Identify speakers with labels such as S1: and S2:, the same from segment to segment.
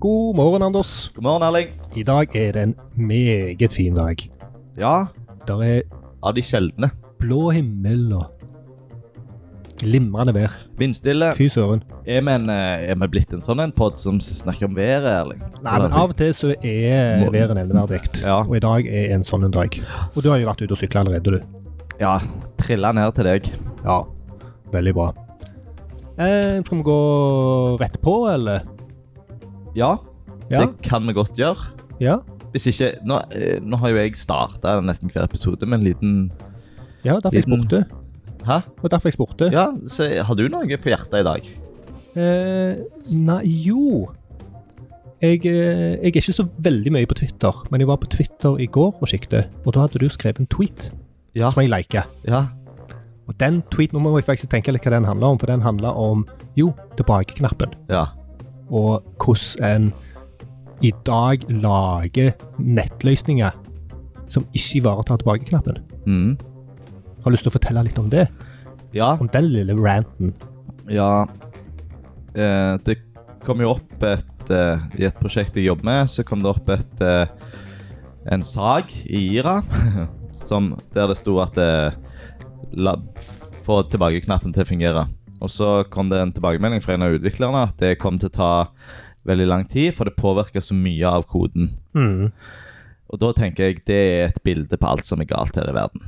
S1: God morgen, Anders.
S2: God morgen, Erling.
S1: I dag er det en meget fin dag.
S2: Ja,
S1: Der er
S2: av de sjeldne.
S1: blå himmel og glimrende vær.
S2: Vindstille.
S1: Fy søren.
S2: Er vi, en, eh, er vi blitt en sånn en pod som snakker om været, Erling?
S1: Nei, men Av og til så er
S2: Må-
S1: været nevneverdig,
S2: Ja.
S1: og i dag er en sånn en dag. Og du har jo vært ute og sykla allerede, du.
S2: Ja. Trilla ned til deg.
S1: Ja. Veldig bra. Eh, skal vi gå rett på, eller?
S2: Ja,
S1: Ja.
S2: det kan vi godt gjøre.
S1: Ja,
S2: Hvis ikke Nå, eh, nå har jo jeg starta nesten hver episode med en liten
S1: ja derfor jeg
S2: Liten-
S1: spurte.
S2: Hæ?
S1: Og derfor jeg spurte.
S2: Ja, så har du noe på hjertet i dag?
S1: Eh, nei, jo jeg, eh, jeg er ikke så veldig mye på Twitter, men jeg var på Twitter i går og sjekket, og da hadde du skrevet en tweet
S2: Ja.
S1: som jeg liker.
S2: ja.
S1: Og den tweeten, nå må jeg faktisk tenke litt hva den handler om, for den handler om, jo, tilbakeknappen,
S2: Ja.
S1: og hvordan en i dag lager nettløsninger som ikke ivaretar tilbakeknappen.
S2: Mm.
S1: Har du lyst til å fortelle litt om det?
S2: Ja.
S1: Om den lille ranten?
S2: Ja eh, Det kom jo opp et eh, I et prosjekt jeg jobber med, så kom det opp et eh, en sag i IRA som, der det sto at eh, la, Få tilbakeknappen til å fungere. Og så kom det en tilbakemelding fra en av utviklerne at det kom til å ta veldig lang tid, for det påvirker så mye av koden.
S1: Mm.
S2: Og da tenker jeg det er et bilde på alt som er galt her i verden.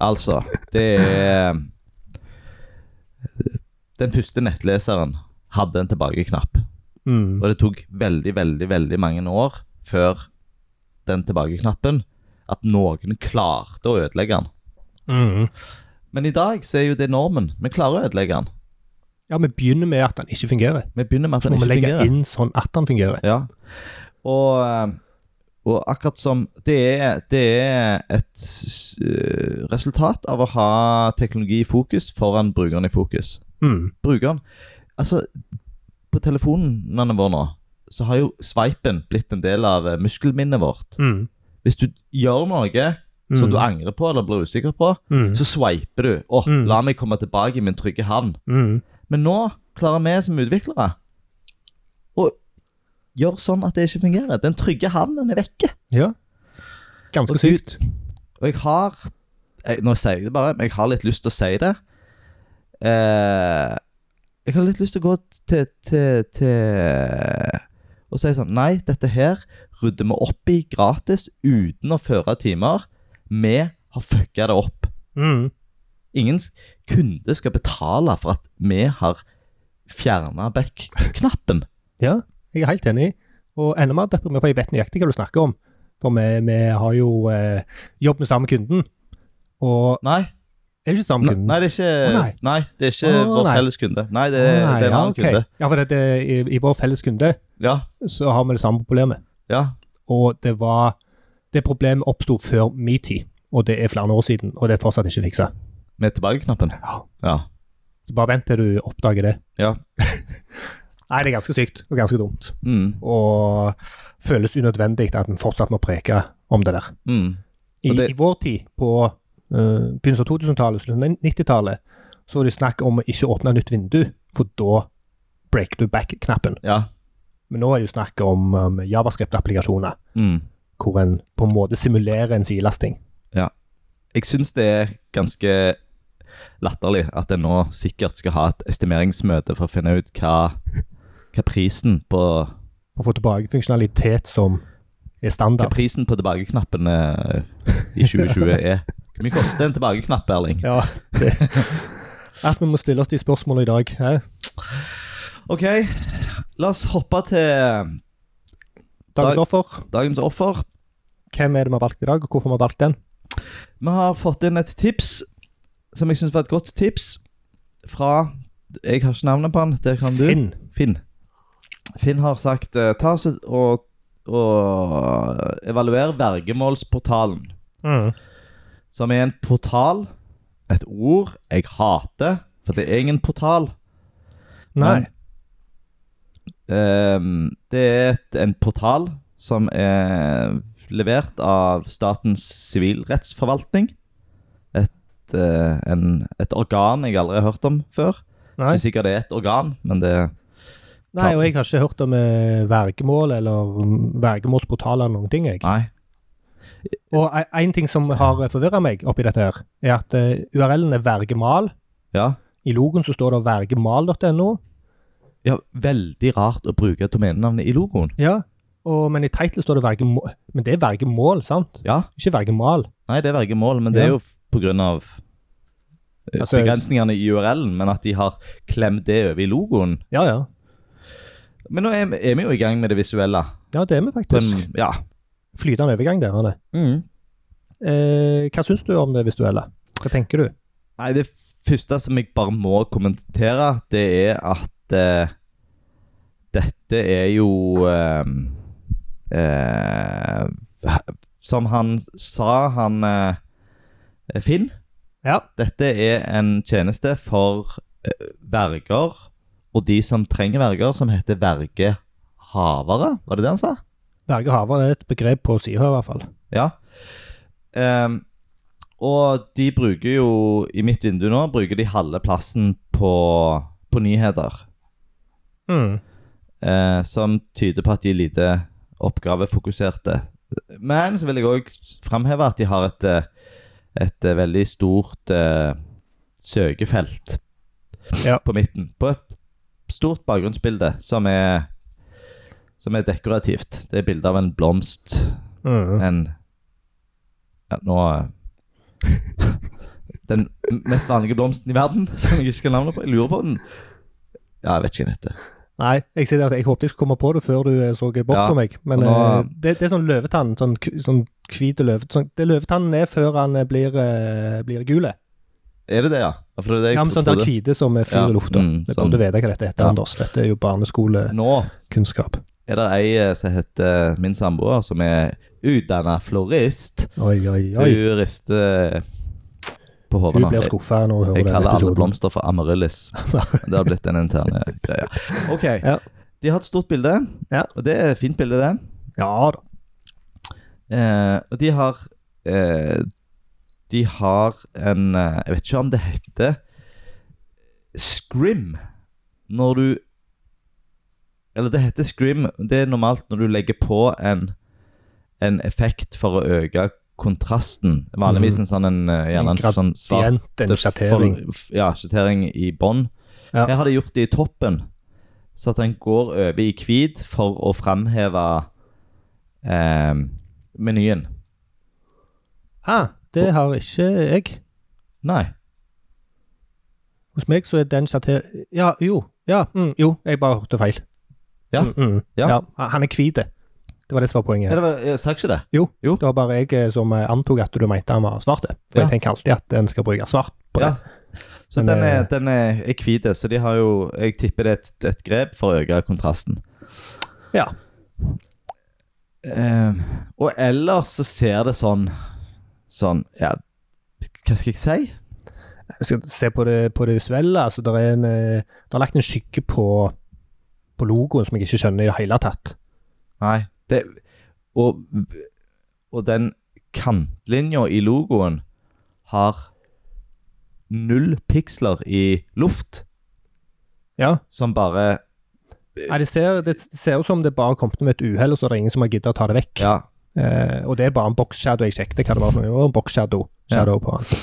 S2: altså, det er Den første nettleseren hadde en tilbakeknapp.
S1: Mm.
S2: Og det tok veldig, veldig, veldig mange år før den tilbakeknappen at noen klarte å ødelegge den.
S1: Mm.
S2: Men i dag så er jo det normen. Vi klarer å ødelegge den.
S1: Ja, vi begynner med at den ikke fungerer.
S2: Vi begynner med at
S1: Så må
S2: den
S1: vi
S2: ikke
S1: legge
S2: fungerer.
S1: inn sånn at den fungerer.
S2: Ja. Og, eh, og akkurat som det er, det er et s- eh, resultat av å ha teknologi i fokus foran brukeren i fokus.
S1: Mm.
S2: Brukeren Altså, på telefonene våre nå, så har jo sveipen blitt en del av eh, muskelminnet vårt.
S1: Mm.
S2: Hvis du gjør noe som
S1: Mm.
S2: du angrer på eller blir usikker på,
S1: Mm.
S2: så sveiper du. 'Å,
S1: Mm.
S2: la meg komme tilbake i min trygge havn'.
S1: Mm.
S2: Men nå klarer vi som utviklere å gjøre sånn at det ikke fungerer. Den trygge havnen er vekke.
S1: Ja. Ganske
S2: Og
S1: sykt.
S2: Og jeg har jeg, Nå sier jeg det bare, men jeg har litt lyst til å si det. Eh, jeg har litt lyst til å gå til, til, til Og si sånn Nei, dette her rydder vi opp i gratis uten å føre timer. Vi har fucka det opp.
S1: Mm.
S2: Ingen s- kunde skal betale for at vi har fjerna back-knappen.
S1: Ja, jeg er helt enig. Og enda mer deprimert, for jeg vet nøyaktig hva du snakker om. For vi, vi har jo eh, jobb med samme kunden. Og
S2: Nei,
S1: er det ikke samme
S2: Nei,
S1: kunden?
S2: nei, det er ikke,
S1: Å, nei.
S2: nei. det er ikke
S1: Å,
S2: vår
S1: nei.
S2: felles kunde. Nei, det,
S1: Å,
S2: det er en
S1: ja,
S2: annen
S1: ok.
S2: kunde.
S1: Ja, for det, det, i, i vår felles kunde
S2: Ja,
S1: så har vi det samme problemet.
S2: ja,
S1: Og det var Det problemet oppsto før min tid, og det er flere år siden, og det er fortsatt ikke fiksa.
S2: med tilbakeknappen.
S1: Ja.
S2: Ja.
S1: Så bare vent til du oppdager det.
S2: Ja.
S1: Nei, det er ganske sykt og ganske dumt.
S2: Mm,
S1: og føles unødvendig at en fortsatt må preke om det der.
S2: mm.
S1: I,
S2: Og det-
S1: i vår tid, på eh, begynnelsen av 2000-tallet, slutten av 90-tallet, så var det snakk om å ikke åpne nytt vindu, for da break du back-knappen.
S2: Ja.
S1: Men nå er det jo snakk om um, javascript-applikasjoner,
S2: Mm.
S1: hvor en på en måte simulerer en sidelasting.
S2: Jeg syns det er ganske latterlig at en nå sikkert skal ha et estimeringsmøte for å finne ut hva, hva prisen på
S1: Og få tilbake funksjonalitet som er
S2: Hva
S1: standard.
S2: prisen på tilbakeknappen eh, i 2020 er. Hvor mye koster en tilbakeknapp, Erling?
S1: Ja, det. At vi må stille oss de spørsmålene i dag. Hæ?
S2: OK, la oss hoppe til
S1: Dagens offer,
S2: dagens offer.
S1: hvem er det vi har valgt i dag, og hvorfor vi har valgt den?
S2: Vi har fått inn et tips som jeg syns var et godt tips fra Jeg har ikke navnet på han. Det kan du.
S1: Finn.
S2: Finn. Finn har sagt eh, ta oss et- og, og evaluer vergemålsportalen,
S1: Mm.
S2: som er en portal Et ord jeg hater, for det er ingen portal.
S1: Nei.
S2: Ehm, det er et, en portal som er levert av Statens sivilrettsforvaltning. Et, eh, en, et organ jeg aldri har hørt om før.
S1: Nei.
S2: Ikke sikkert det er et organ, men det
S1: Nei, og jeg har ikke hørt om eh, vergemål eller mm, vergemålsportaler eller noen ting. Jeg.
S2: Nei.
S1: Og én ting som har forvirra meg oppi dette, her, er at eh, URL-en er vergemal.
S2: Ja.
S1: I logoen så står det vergemal.no.
S2: ja. Veldig rart å bruke domenenavnet i logoen.
S1: Ja. Og, men i title står det vergemål. Men det er vergemål, sant?
S2: Ja.
S1: Ikke vergemal.
S2: Nei, det er vergemål, men det er
S1: Ja.
S2: jo på grunn av eh,
S1: Altså-
S2: begrensningene i URL-en, men at de har klemt det over i logoen.
S1: Ja, ja.
S2: Men nå er, vi- er vi jo i gang med det visuelle.
S1: Ja, det er vi
S2: På
S1: faktisk.
S2: en, ja.
S1: Flytende overgang der, Arne. Eh, hva syns du om det visuelle? Hva tenker du?
S2: Nei, det første som jeg bare må kommentere, det er at eh, dette er jo eh, eh, Som han sa, han eh, Finn.
S1: Ja.
S2: Dette er en tjeneste for eh, verger og de som trenger verger, som heter vergehavere. Var det det han sa?
S1: Vergehaver er et begrep på sida, i hvert fall.
S2: Ja. Ehm, og de bruker jo, i mitt vindu nå, bruker de halve plassen på, på nyheter.
S1: Mm.
S2: eh, som tyder på at de er lite oppgavefokuserte. Men så vil jeg òg framheve at de har et, eh, et eh, veldig stort eh, søkefelt
S1: Ja.
S2: på midten. På et stort bakgrunnsbilde som er, som er dekorativt. Det er bilde av en blomst
S1: Mm.
S2: en ja, Nå eh, Den mest vanlige blomsten i verden, som jeg ikke husker navnet på. Jeg lurer på den. Ja, jeg vet ikke hva den heter.
S1: Nei, jeg, sier det at jeg håpte jeg skulle komme på det før du eh, så bort
S2: Ja,
S1: på meg. Men
S2: og nå-
S1: eh, det, det er sånn løvetann. Sånn, k- sånn hvit løve... Sånn, det løvetannen er før han eh, blir, eh, blir gule.
S2: Er det det, ja? Ja, For det er det jeg
S1: Ja, men sånn der
S2: trodde.
S1: hvite som eh, flyr
S2: Ja,
S1: i lufta.
S2: mm,
S1: Jeg
S2: sånn.
S1: burde vite hva dette heter,
S2: Ja.
S1: Anders. Dette er jo barneskolekunnskap.
S2: Nå er det ei eh, som heter min samboer, som er utdanna florist.
S1: Oi, oi, oi.
S2: Hun rister eh, på hodet
S1: Hun
S2: nå.
S1: blir
S2: Jeg,
S1: skuffa når hun
S2: jeg
S1: hører den
S2: kaller alle
S1: episoden.
S2: blomster for amaryllis. Det har blitt en interne greie. OK.
S1: Ja.
S2: De har et stort bilde,
S1: Ja.
S2: og det er et fint bilde, det.
S1: Ja da.
S2: Eh, og de har eh, De har en eh, Jeg vet ikke om det heter Scrim når du Eller det heter Scrim. Det er normalt når du legger på en, en effekt for å øke kontrasten. Vanligvis en sånn en, eh, gjerne
S1: En
S2: en sånn
S1: Det er
S2: svart
S1: en- en sjattering.
S2: for- f- Ja, sjattering i bånn.
S1: Ja.
S2: Her har de gjort det i toppen, så at den går over i hvit for å framheve eh, menyen.
S1: Ah, det har ikke jeg.
S2: Nei.
S1: Hos meg så er den sjattering Ja, jo. Ja, mm, jo. Jeg bare hørte feil.
S2: Ja.
S1: Mm, mm.
S2: Ja.
S1: ja. Han er hvit. Det var det som var poenget. her.
S2: Ja, det var, jeg sa ikke det.
S1: Det var bare jeg eh, som eh, antok at du mente han var svart. det. For
S2: Ja.
S1: jeg tenker alltid at en skal bruke svart på det.
S2: Ja. Så
S1: Men eh,
S2: den er,
S1: det-
S2: den er, er hvit, så de har jo Jeg tipper det er et, et grep for å øke kontrasten.
S1: Ja.
S2: Eh, og ellers så ser det sånn Sånn Ja, hva skal jeg si?
S1: Jeg skal se på det, på det visuelle. altså Det er, en, eh, der er lagt en skygge på, på logoen som jeg ikke skjønner i det hele tatt.
S2: Nei. Det, og, og den kantlinja i logoen har null piksler i luft,
S1: Ja,
S2: som bare
S1: Nei, Det ser, det ser ut som det bare kom til med et uhell, og så er det ingen som har giddet å ta det vekk.
S2: Ja.
S1: Eh, og det er bare en box-shadow. Jeg sjekket hva det var for noe. Det var en box-shadow shadow på den.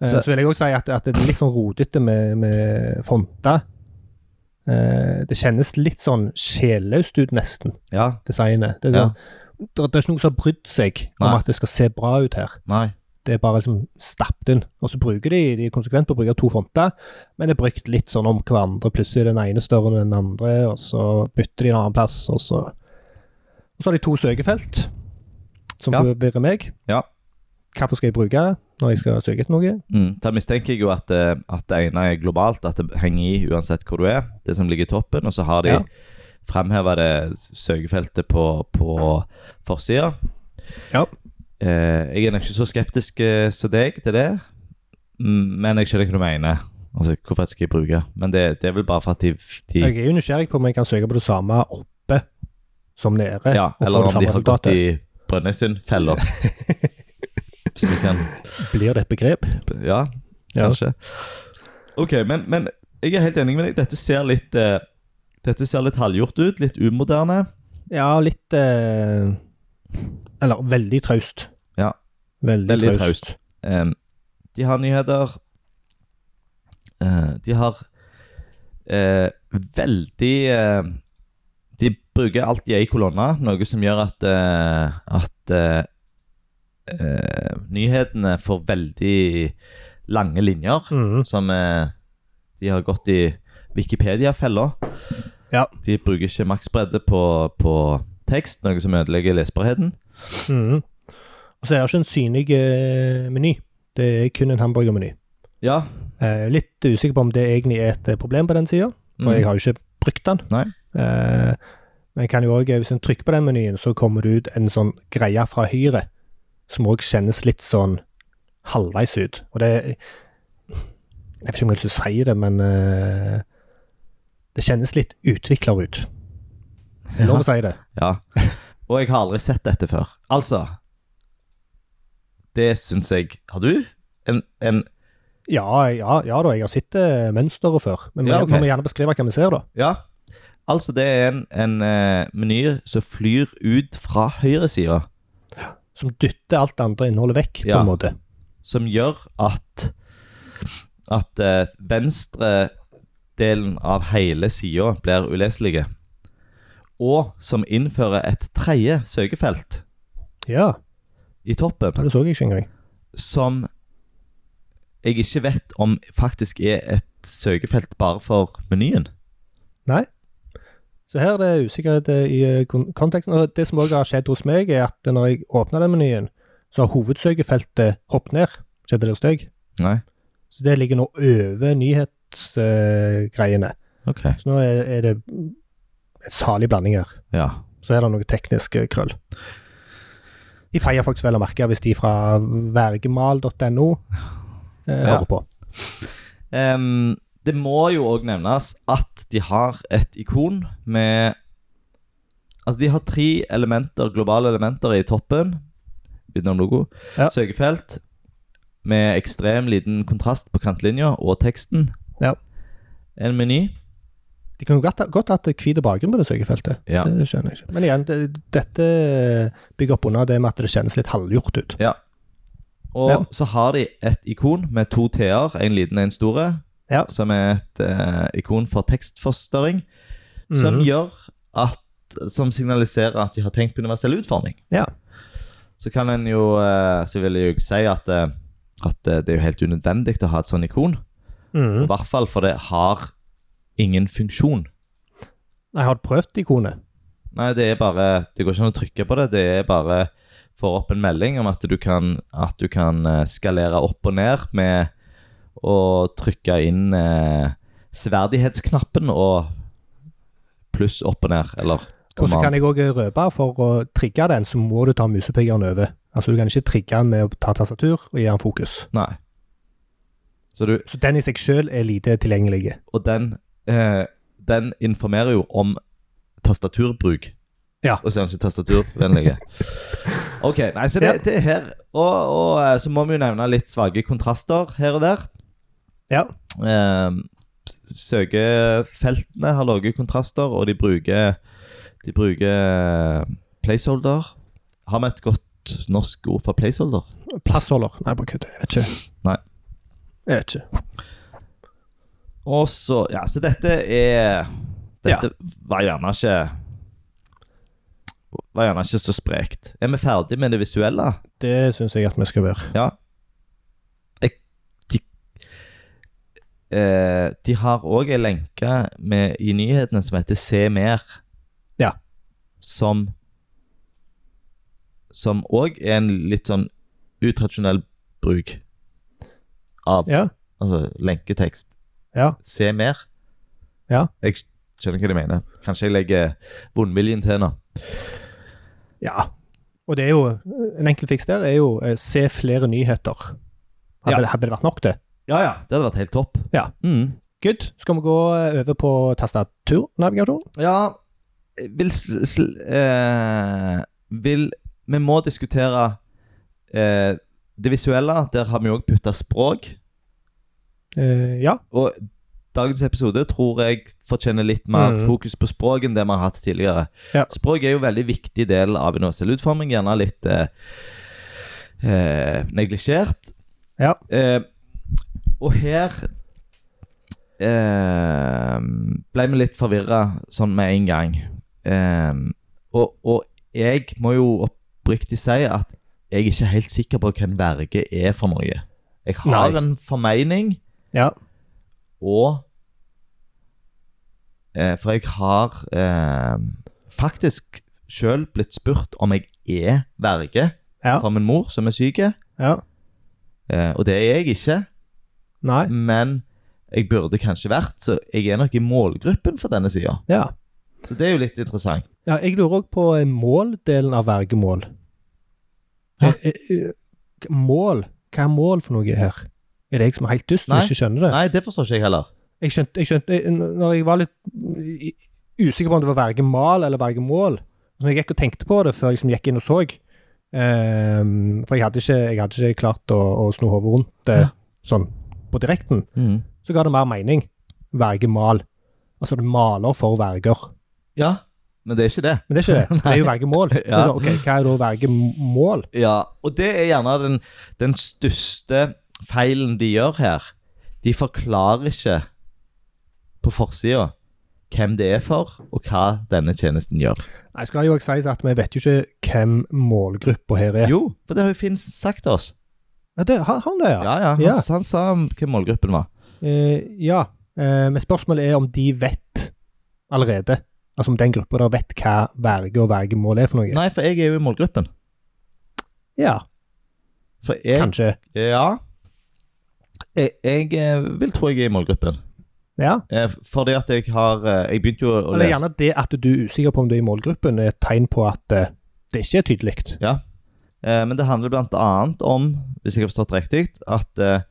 S1: Eh,
S2: Så-
S1: så, vil jeg også si at, at det er litt sånn rodete med, med fonter. Eh, det kjennes litt sånn sjelløst ut, nesten.
S2: ja
S1: designet. Det er,
S2: Ja.
S1: sånn, det, det er ikke noen som har brydd seg om
S2: Nei.
S1: at det skal se bra ut her.
S2: nei.
S1: Det er bare liksom stappet inn. Og så bruker de de er konsekvent på å bruke to fonter, men det er brukt litt sånn om hverandre. Plutselig er den ene større enn den andre, og så bytter de en annen plass, og så Og så har de to søkefelt, som
S2: Ja.
S1: forvirrer meg.
S2: Ja.
S1: Hvorfor skal jeg bruke når jeg skal søke etter noe?
S2: Mm. Da mistenker jeg jo at, eh, at det ene er globalt, at det henger i uansett hvor du er. Det som ligger i toppen, og så har de
S1: Ja.
S2: fremheva det s- søkefeltet på, på forsida.
S1: Ja.
S2: Eh, jeg er nok ikke så skeptisk eh, som deg til det, Mm, men jeg skjønner hva du mener. Altså, hvorfor skal jeg bruke Men det, det er vel bare for at de, de
S1: Jeg er jo nysgjerrig på om jeg kan søke på det samme oppe som nede.
S2: Ja,
S1: og få
S2: eller
S1: det
S2: om
S1: samme
S2: de har gått
S1: resultatet.
S2: i Brønnøysundfella. Som vi kan
S1: Blir det et begrep?
S2: Ja,
S1: Ja.
S2: kanskje. Ok, men, men jeg er helt enig med deg. Dette ser litt eh, Dette ser litt halvgjort ut, litt umoderne.
S1: Ja, litt eh, Eller veldig traust.
S2: Ja.
S1: Veldig,
S2: Veldig
S1: traust.
S2: Ehm, de har nyheter. Eh, de har eh, veldig eh, De bruker alt de er i kolonner, noe som gjør at, eh, at eh, eh, nyhetene får veldig lange linjer.
S1: Mhm.
S2: Som eh, de har gått i Wikipedia-fella.
S1: Ja.
S2: De bruker ikke maksbredde på, på tekst, noe som ødelegger lesbarheten. Mm.
S1: Mhm. Og så er det ikke en synlig eh, meny. Det er kun en hamburgermeny.
S2: Ja.
S1: Eh, litt usikker på om det egentlig er et eh, problem på den sida, for
S2: Mm.
S1: jeg har jo ikke brukt den.
S2: Nei.
S1: Eh, men jeg kan jo også, eh, hvis en trykker på den menyen, så kommer det ut en sånn greie fra høyre som òg kjennes litt sånn halvveis ut. Og det Jeg vet ikke om jeg har lyst til å si det, men eh, det kjennes litt utvikler ut. Det er lov å si det.
S2: Ja. Og jeg har aldri sett dette før. Altså Det syns jeg Har du? En, en
S1: Ja, ja, ja da, jeg har sett eh, mønsteret før, men vi
S2: Ja, ok.
S1: må vi gjerne beskrive hva vi ser, da.
S2: Ja. Altså, det er en, en eh, meny som flyr ut fra høyresida,
S1: Som dytter alt det andre innholdet vekk, på
S2: Ja.
S1: en måte.
S2: som gjør at At eh, venstredelen av hele sida blir uleselige. Og som innfører et tredje søkefelt
S1: Ja,
S2: i toppen.
S1: det så jeg ikke engang.
S2: som jeg ikke vet om faktisk er et søkefelt bare for menyen.
S1: Så her er det usikkerhet eh, i eh, kon- konteksten. Og det som òg har skjedd hos meg, er at når jeg åpna den menyen, så har hovedsøkefeltet hoppet ned. Skjedde det hos deg?
S2: Nei.
S1: Så det ligger nå over nyhetsgreiene.
S2: Ok.
S1: så nå er, er det en salig blanding her.
S2: Ja.
S1: Så er det noe teknisk eh, krøll. I Firefox, vel å merke, hvis de fra vergemal.no eh,
S2: Ja.
S1: hører på.
S2: Em, det må jo òg nevnes at de har et ikon med Altså, de har tre elementer, globale elementer i toppen, utenom logo.
S1: Ja.
S2: Søkefelt med ekstrem liten kontrast på kantlinja og teksten.
S1: Ja.
S2: En meny.
S1: De kunne godt ha- godt hatt hvit bakgrunn på det søkefeltet.
S2: Ja.
S1: Det skjønner jeg ikke. Men igjen, det, dette bygger opp under det med at det kjennes litt halvgjort ut.
S2: Og
S1: Ja.
S2: så har de et ikon med to T-er, en liten og en store,
S1: Ja.
S2: som er et eh, ikon for tekstforstørring, som
S1: Mhm.
S2: gjør at som signaliserer at de har tenkt på universell utforming.
S1: Ja.
S2: Så kan en jo eh, Så vil jeg jo si at, eh, at eh, det er jo helt unødvendig å ha et sånt ikon. I
S1: Mhm.
S2: hvert fall for det har ingen funksjon.
S1: Jeg har prøvd ikonet.
S2: Nei, det er bare Det går ikke an å trykke på det. Det er bare får opp en melding om at du kan, at du kan eh, skalere opp og ned med å trykke inn eh, sverdighetsknappen og pluss opp og ned, eller
S1: Og så kan
S2: command.
S1: jeg òg røpe, for å trigge den, så må du ta musepigeren over. Altså, du kan ikke trigge den med å ta tastatur og gi den fokus.
S2: Nei. Så du
S1: Så den i seg sjøl er lite tilgjengelig.
S2: Og den, eh, den informerer jo om tastaturbruk.
S1: Ja.
S2: Og så er den ikke tastaturvennlig. OK. Nei, så det,
S1: Ja.
S2: det er her. Og, og eh, så må vi jo nevne litt svake kontraster her og der.
S1: Ja.
S2: Eh, søkefeltene har lave kontraster, og de bruker, de bruker eh, placeholder. Har vi et godt norsk ord for placeholder?
S1: Plassholder. Nei, bare kødd. Jeg vet ikke.
S2: Nei.
S1: Jeg vet ikke.
S2: Og så Ja, så dette er Dette var gjerne ikke Var gjerne ikke så sprekt. Er vi ferdig med det visuelle?
S1: Det syns jeg at vi skal være.
S2: Ja. Jeg, de, eh, de har òg ei lenke med, i nyhetene som heter Se mer.
S1: Ja.
S2: Som Som òg er en litt sånn utradisjonell bruk av
S1: Ja.
S2: altså, lenketekst.
S1: Ja.
S2: Se mer.
S1: Ja.
S2: Jeg skjønner hva de mener. Kanskje jeg legger vondviljen til nå.
S1: ja. Og det er jo En enkel fiks der er jo eh, se flere nyheter. Hadde,
S2: Ja.
S1: det- hadde det vært nok, det?
S2: Ja, ja. Det hadde vært helt topp.
S1: Ja.
S2: Mm.
S1: Good. Skal vi gå eh, over på tastaturnavigasjon?
S2: ja jeg vil sl... sl eh, vil Vi må diskutere eh, det visuelle. Der har vi òg putta språk.
S1: Eh, ja.
S2: Og dagens episode tror jeg fortjener litt mer
S1: Mhm.
S2: fokus på språk enn det vi har hatt tidligere.
S1: Ja.
S2: Språk er jo en veldig viktig del av universell utforming, gjerne litt eh, eh, neglisjert.
S1: Ja.
S2: Eh, og her eh, ble vi litt forvirra sånn med en gang. Eh, og, og jeg må jo oppriktig si at jeg er ikke helt sikker på hva en verge er for noe. Jeg har
S1: Nei.
S2: en formening,
S1: Ja.
S2: og eh, For jeg har eh, faktisk sjøl blitt spurt om jeg er verge
S1: Ja.
S2: fra min mor, som er syk.
S1: ja.
S2: Eh, og det er jeg ikke,
S1: Nei.
S2: men jeg burde kanskje vært, så jeg er nok i målgruppen for denne sida.
S1: Ja.
S2: Så det er jo litt interessant.
S1: ja jeg lurer òg på eh, måldelen av vergemål.
S2: Hæ?
S1: Eh, eh, eh, Mål? Hva er mål for noe her? Er det jeg som er helt dust og
S2: Nei.
S1: ikke skjønner det?
S2: Nei, det forstår ikke jeg heller.
S1: Jeg skjønte, jeg skjønte jeg, Når jeg var litt eh, usikker på om det var vergemal eller vergemål Når jeg gikk og tenkte på det før jeg liksom gikk inn og så ehm, For jeg hadde ikke, jeg hadde ikke klart å, å sno hodet rundt det
S2: Ja.
S1: sånn på direkten. Så ga det mer mening. Vergemal. Altså det maler for verger.
S2: Ja, men det er ikke det.
S1: Men det er ikke det. Det er jo vergemål. Det er
S2: Ja.
S1: sånn, ok, hva er da vergemål?
S2: Ja, og det er gjerne den, den største feilen de gjør her. De forklarer ikke på forsida hvem det er for, og hva denne tjenesten gjør.
S1: Nei, skal jo også sies at vi vet jo ikke hvem målgruppa her er.
S2: Jo, for det har jo Finn sagt til oss.
S1: Ja, det, har har han det, ja?
S2: Ja, ja, han,
S1: Ja.
S2: han sa hva målgruppen var.
S1: Eh, ja, eh, men spørsmålet er om de vet allerede. Altså om den gruppa der vet hva verge og vergemål er for noe.
S2: Nei, for jeg er jo i målgruppen.
S1: Ja,
S2: For jeg
S1: kanskje.
S2: Ja. Jeg, jeg eh, vil tro jeg er i målgruppen.
S1: Ja.
S2: Eh, Fordi at jeg har eh, Jeg begynte jo å
S1: Eller
S2: lese
S1: gjerne det at du er usikker på om du er i målgruppen, er et tegn på at eh, det ikke er tydelig.
S2: Ja. Eh, Men det handler blant annet om, hvis jeg har forstått riktig, at eh,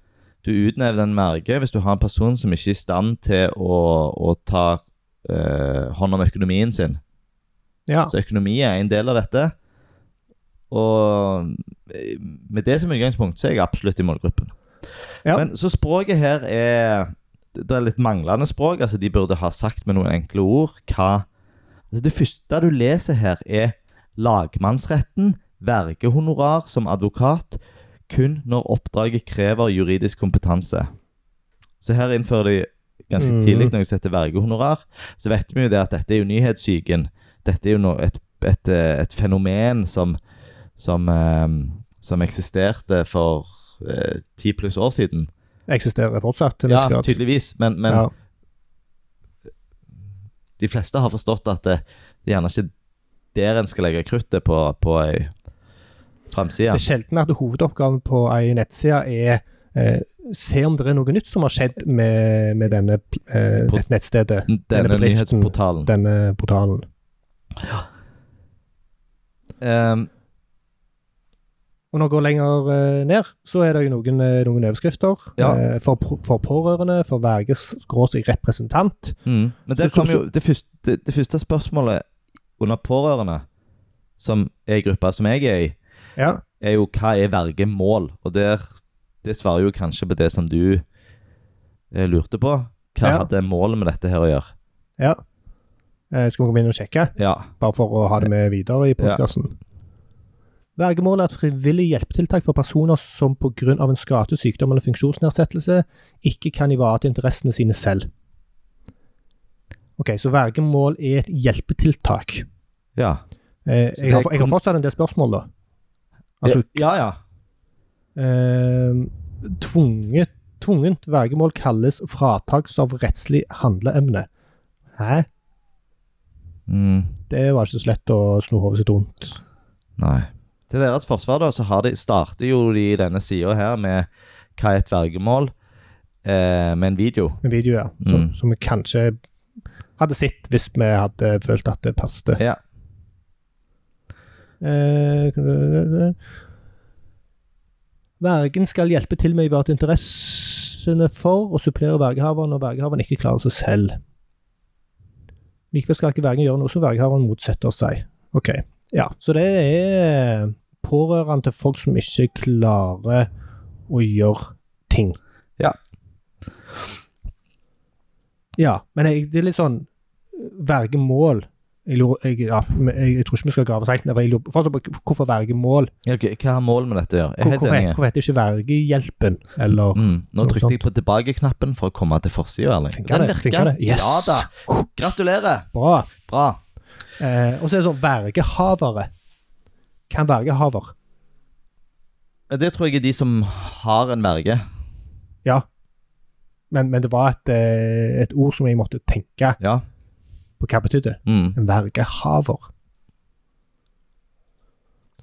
S2: du utnevner en verge hvis du har en person som ikke er i stand til å, å ta eh, hånd om økonomien sin.
S1: Ja.
S2: Så økonomi er en del av dette. Og eh, med det som utgangspunkt, så er jeg absolutt i målgruppen.
S1: Ja.
S2: Men så språket her er Det er litt manglende språk. Altså, de burde ha sagt med noen enkle ord hva altså, Det første du leser her, er lagmannsretten, vergehonorar som advokat, kun når oppdraget krever juridisk kompetanse. Så her innfører de ganske
S1: Mhm.
S2: tidlig noe som heter vergehonorar. Så vet vi jo det at dette er jo nyhetssyken. Dette er jo noe, et, et, eh, et fenomen som, som, eh, som eksisterte for eh, ti pluss år siden.
S1: Eksisterer fortsatt. til en
S2: Ja,
S1: viss grad.
S2: tydeligvis, men, men
S1: Ja.
S2: de fleste har forstått at det, det er gjerne ikke der en skal legge kruttet på, på ei framside.
S1: Det er sjelden at hovedoppgaven på ei nettside er eh, se om det er noe nytt som har skjedd med, med denne, eh,
S2: På-
S1: dette nettstedet, denne
S2: Denne
S1: bedriften-
S2: nyhetsportalen.
S1: denne portalen.
S2: Ehm,
S1: Og når jeg går lenger eh, ned, så er det jo noen, eh, noen overskrifter.
S2: Ja.
S1: Eh, for, pro- for pårørende, for verges skråstrek representant.
S2: mm. Men der
S1: Så-
S2: kom jo det første, det, det første spørsmålet under pårørende, som er i gruppa som jeg er i,
S1: Ja.
S2: er jo hva er vergemål? Og der, det svarer jo kanskje på det som du eh, lurte på. Hva
S1: Ja.
S2: hadde målet med dette her å gjøre?
S1: ja. Eh, skal vi komme inn og sjekke,
S2: Ja.
S1: bare for å ha det med videre i podkasten? Vergemål er et frivillig hjelpetiltak for personer som pga. en skade, sykdom eller funksjonsnedsettelse ikke kan ivareta interessene sine selv. Ok, Så vergemål er et hjelpetiltak.
S2: Ja.
S1: Eh,
S2: Så det
S1: jeg, har, jeg
S2: kom-
S1: har fortsatt en del spørsmål, da. Altså,
S2: ja, ja.
S1: Eh, tvunget, tvungent vergemål kalles fratakelse av rettslig handleemne. Hæ?
S2: Mm.
S1: Det var ikke så lett å sno hodet sitt rundt.
S2: Nei. Til deres forsvar da, så har de, starter jo de denne sida her med hva er et vergemål, eh, med en video.
S1: Med videoer som,
S2: Mm.
S1: som vi kanskje hadde sett hvis vi hadde følt at det passet.
S2: Ja.
S1: Eh, Vergen skal hjelpe til med å ivareta interessene for og supplere vergehaveren når vergehaveren ikke klarer seg selv. Likevel skal ikke vergen gjøre noe som vergehaveren motsetter seg. Ok, ja. Så det er pårørende til folk som ikke klarer å gjøre ting. Ja, men jeg, det er litt sånn Verge mål. Jeg, lurer, jeg, ja, men jeg, jeg tror ikke vi skal grave oss helt ned. for jeg lurer- for eksempel, Hvorfor verge mål?
S2: Ja, ok, Hva har målet med dette å gjøre? Jeg
S1: Hvor,
S2: er helt
S1: hvorfor,
S2: enig.
S1: het- hvorfor heter det ikke vergehjelpen? Eller
S2: Mm. Nå
S1: Noe
S2: trykte jeg
S1: sånt.
S2: på tilbake-knappen for å komme til forsida, Erling.
S1: Funker det? Funker det? Yes!
S2: Ja da. Gratulerer.
S1: Bra.
S2: Bra.
S1: Eh, og så er det sånn vergehavere. Kan vergehaver.
S2: Men Det tror jeg er de som har en verge.
S1: Ja. Men, men det var et, eh, et ord som jeg måtte tenke
S2: Ja.
S1: på hva betydde.
S2: Mm.
S1: En vergehaver.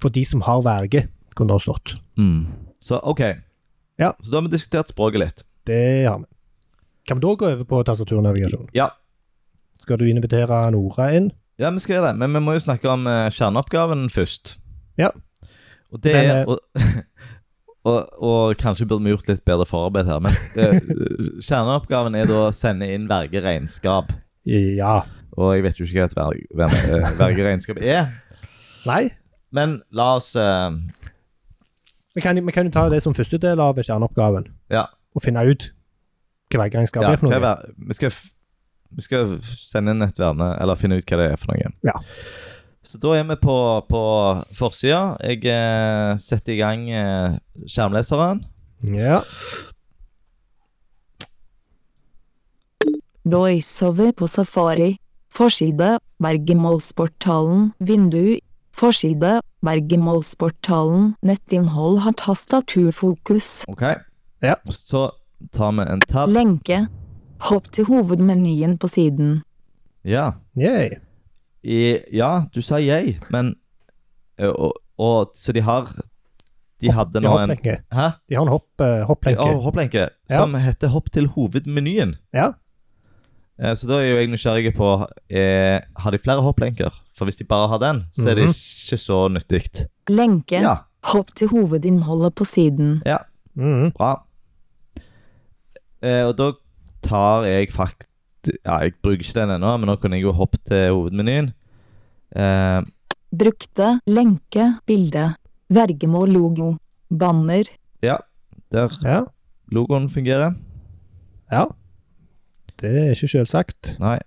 S1: For de som har verge, kunne det ha stått.
S2: Mm. Så OK.
S1: Ja.
S2: Så da har vi diskutert språket litt.
S1: Det har vi. Kan vi da gå over på tastaturnavigasjon?
S2: Ja.
S1: Skal du invitere Nora inn?
S2: Ja, vi skal gjøre det, men vi må jo snakke om eh, kjerneoppgaven først.
S1: Ja.
S2: Og det
S1: Men, eh,
S2: er og, og, og kanskje burde vi gjort litt bedre forarbeid her, men eh, kjerneoppgaven er da å sende inn vergeregnskap.
S1: Ja.
S2: Og jeg vet jo ikke hva et verg, ver- eh, vergeregnskap er,
S1: Nei?
S2: men la oss eh,
S1: Vi kan, vi kan jo ta det som første del av kjerneoppgaven,
S2: Ja.
S1: og finne ut hva vergeregnskap
S2: ja,
S1: er for
S2: hva er
S1: noe.
S2: ver- vi, skal, f- vi skal sende inn et verne, eller finne ut hva det er for noe.
S1: Ja.
S2: Så da er vi på, på forsida. Jeg eh, setter i gang eh, skjermleseren.
S1: Ja.
S3: VoiceOver på Safari. Forside, Bergemålsportalen, vindu. Forside, Bergemålsportalen, nettinnhold har tastaturfokus.
S2: Ok.
S1: Ja.
S2: Så tar vi en tab.
S3: Lenke. Hopp til hovedmenyen på siden.
S2: Ja.
S1: Yay.
S2: I, ja, du sa jeg, men ø, og, og, Så de har De hadde
S1: De
S2: nå
S1: har
S2: en
S1: hopplenke.
S2: Hæ?
S1: De har en hopp, eh, hopplenke.
S2: Ja, hopplenke.
S1: Ja.
S2: Som heter 'Hopp til hovedmenyen'.
S1: Ja.
S2: Eh, Så da er jo jeg nysgjerrig på eh, Har de flere hopplenker? For hvis de bare har den, så er det
S1: Mhm.
S2: ikke så nyttig.
S3: Lenke.
S2: Ja.
S3: Hopp til hovedinnholdet på siden.
S2: ja.
S1: Mhm.
S2: Bra. Eh, og da tar jeg fakt... Ja, jeg bruker ikke den ennå, men nå kunne jeg jo hoppe til hovedmenyen. Eh,
S3: Brukte. Lenke. Bilde. Vergemål-logo. Banner.
S2: der
S1: Ja.
S2: logoen fungerer.
S1: ja. Det er ikke selvsagt.
S2: Nei.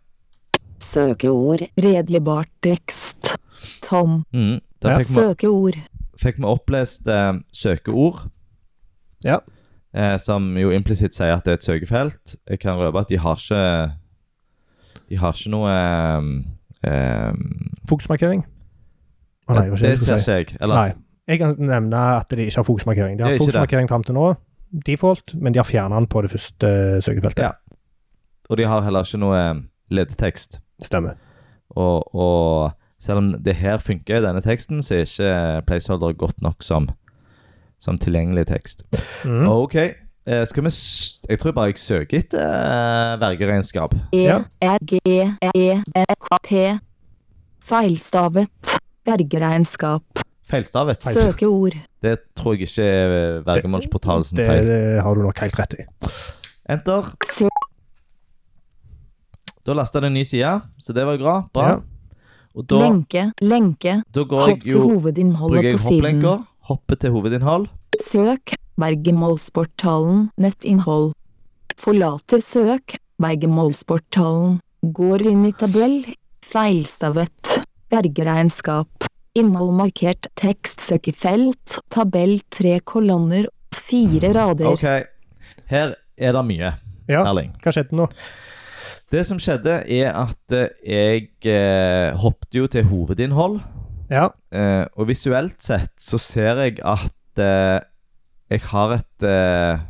S3: Søkeord. Redeligbart tekst. Tom.
S2: Mm. Der
S1: Ja.
S2: fikk, vi,
S3: Søkeord.
S2: fikk vi opplest eh, søkeord.
S1: Ja.
S2: Eh, som jo implisitt sier at det er et søkefelt. Jeg kan røpe at de har ikke De har ikke noe eh, eh,
S1: Fokusmarkering? Å nei, hva
S2: Det
S1: skjer?
S2: ser ikke jeg. Eller,
S1: Nei. Jeg kan nevne at de ikke har fokusmarkering. De
S2: Det
S1: har
S2: er ikke det.
S1: fokusmarkering fram til nå, default, men de har fjernet den på det første eh, søkefeltet.
S2: Ja. og de har heller ikke noe eh, ledetekst.
S1: Stemmer.
S2: Og, og selv om det her funker, denne teksten, så er ikke placeholder godt nok som, som tilgjengelig tekst.
S1: Mhm.
S2: OK. eh, Skal vi s Jeg tror bare jeg søker etter eh, vergeregnskap.
S3: E,
S1: Ja.
S3: R, G, E, E, A, P. Feilstavet. Bergeregnskap.
S2: Feilstavet.
S3: Søkeord.
S2: Det tror jeg ikke er vergemålsportalen sin
S1: Det,
S2: feil.
S1: det har du nok helt rett i.
S2: Enter.
S3: Sø
S2: Da lasta det en ny side, så det var jo bra. bra.
S1: Ja.
S2: Og da,
S3: lenke, lenke.
S2: da går
S3: Hopp
S2: jeg
S3: til
S2: jo Bruker
S3: hovedinnholdet
S2: jeg
S3: på siden.
S2: hopplenker, hopper til hovedinnhold.
S3: Søk. Bergemålsportalen. Nettinnhold. Forlater søk. Bergemålsportalen. Går inn i tabell. Feilstavet. Bergeregnskap. Innhold markert tekstsøkefelt. Tabell tre kolonner. Fire rader.
S2: OK. Her er det mye,
S1: Ja,
S2: Erling.
S1: hva skjedde nå?
S2: Det som skjedde, er at eh, jeg eh, hoppet jo til hovedinnhold.
S1: Ja.
S2: Eh, og visuelt sett så ser jeg at eh, jeg har et eh,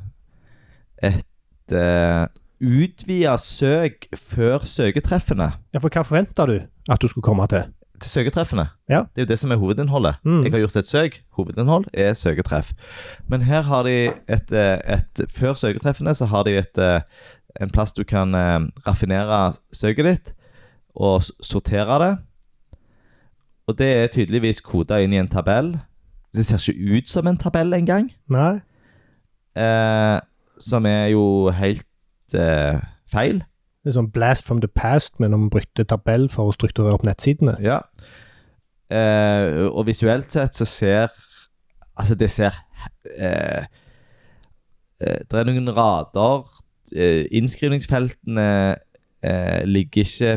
S2: Et eh, utvida søk før søketreffene.
S1: ja, for hva forventa du at du skulle komme til?
S2: Til søketreffene.
S1: Ja.
S2: Det er jo det som er hovedinnholdet.
S1: Mm.
S2: Jeg har gjort et søk. Hovedinnhold er søketreff. Men her har de et, eh, et Før søketreffene så har de et, eh, en plass du kan eh, raffinere søket ditt og s- sortere det. Og det er tydeligvis koda inn i en tabell. Det ser ikke ut som en tabell engang.
S1: Nei?
S2: Eh, som er jo helt eh, feil.
S1: Det er sånn blast from the past, men om brukte tabell for å strukturere opp nettsidene.
S2: Ja. Eh, og visuelt sett så ser Altså, det ser eh, eh, Det er noen rader eh, Innskrivningsfeltene eh, ligger ikke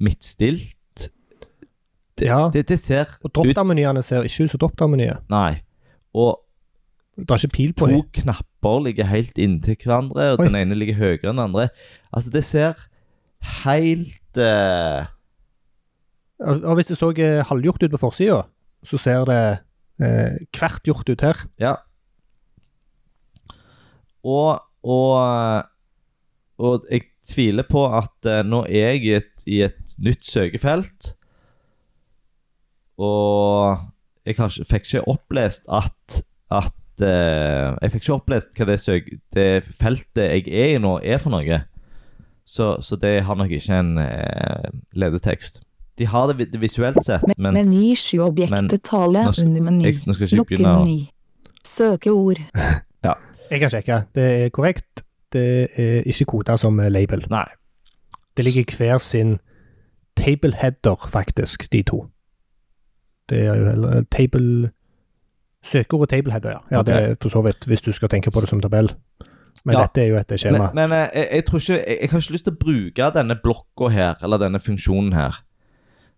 S2: midtstilt. Det,
S1: Ja.
S2: det, det ser
S1: Og
S2: ut
S1: drop-down-menyene ser ikke ut som drop-down-menyer.
S2: Nei. Og
S1: Det er ikke pil på
S2: to
S1: dem.
S2: knapper ligger helt inntil hverandre, og
S1: Oi.
S2: den ene ligger høyere enn den andre. Altså, det ser helt eh,
S1: Og og hvis det så eh, halvgjort ut på forsida, så ser det eh, hvert gjort ut her.
S2: Ja. Og, og Og jeg tviler på at eh, nå er jeg i et, i et nytt søkefelt, og jeg har ikke, fikk ikke opplest at, at eh, Jeg fikk ikke opplest hva det, søk, det feltet jeg er i nå, er for noe. Så, så det har nok ikke en eh, ledetekst. De har det, vi- det visuelt sett,
S3: Me-
S2: men
S3: Meny 7
S2: men-
S3: objektet tale
S2: Nå s-
S3: under meny.
S2: jeg, nå skal jeg ikke
S3: Lukke
S2: begynne å
S3: meny. Søkeord.
S1: Jeg kan sjekke. Det er korrekt. Det er ikke koda som eh, label.
S2: Nei.
S1: Det ligger i hver sin table header, faktisk, de to. Det er jo heller eh, table Søkeord og table header, ja. ja Det er for så vidt, hvis du skal tenke på det som tabell. Men
S2: Ja.
S1: dette er jo et skjema.
S2: Men, men eh, jeg, jeg tror ikke jeg, jeg har ikke lyst til å bruke denne blokka her, eller denne funksjonen her.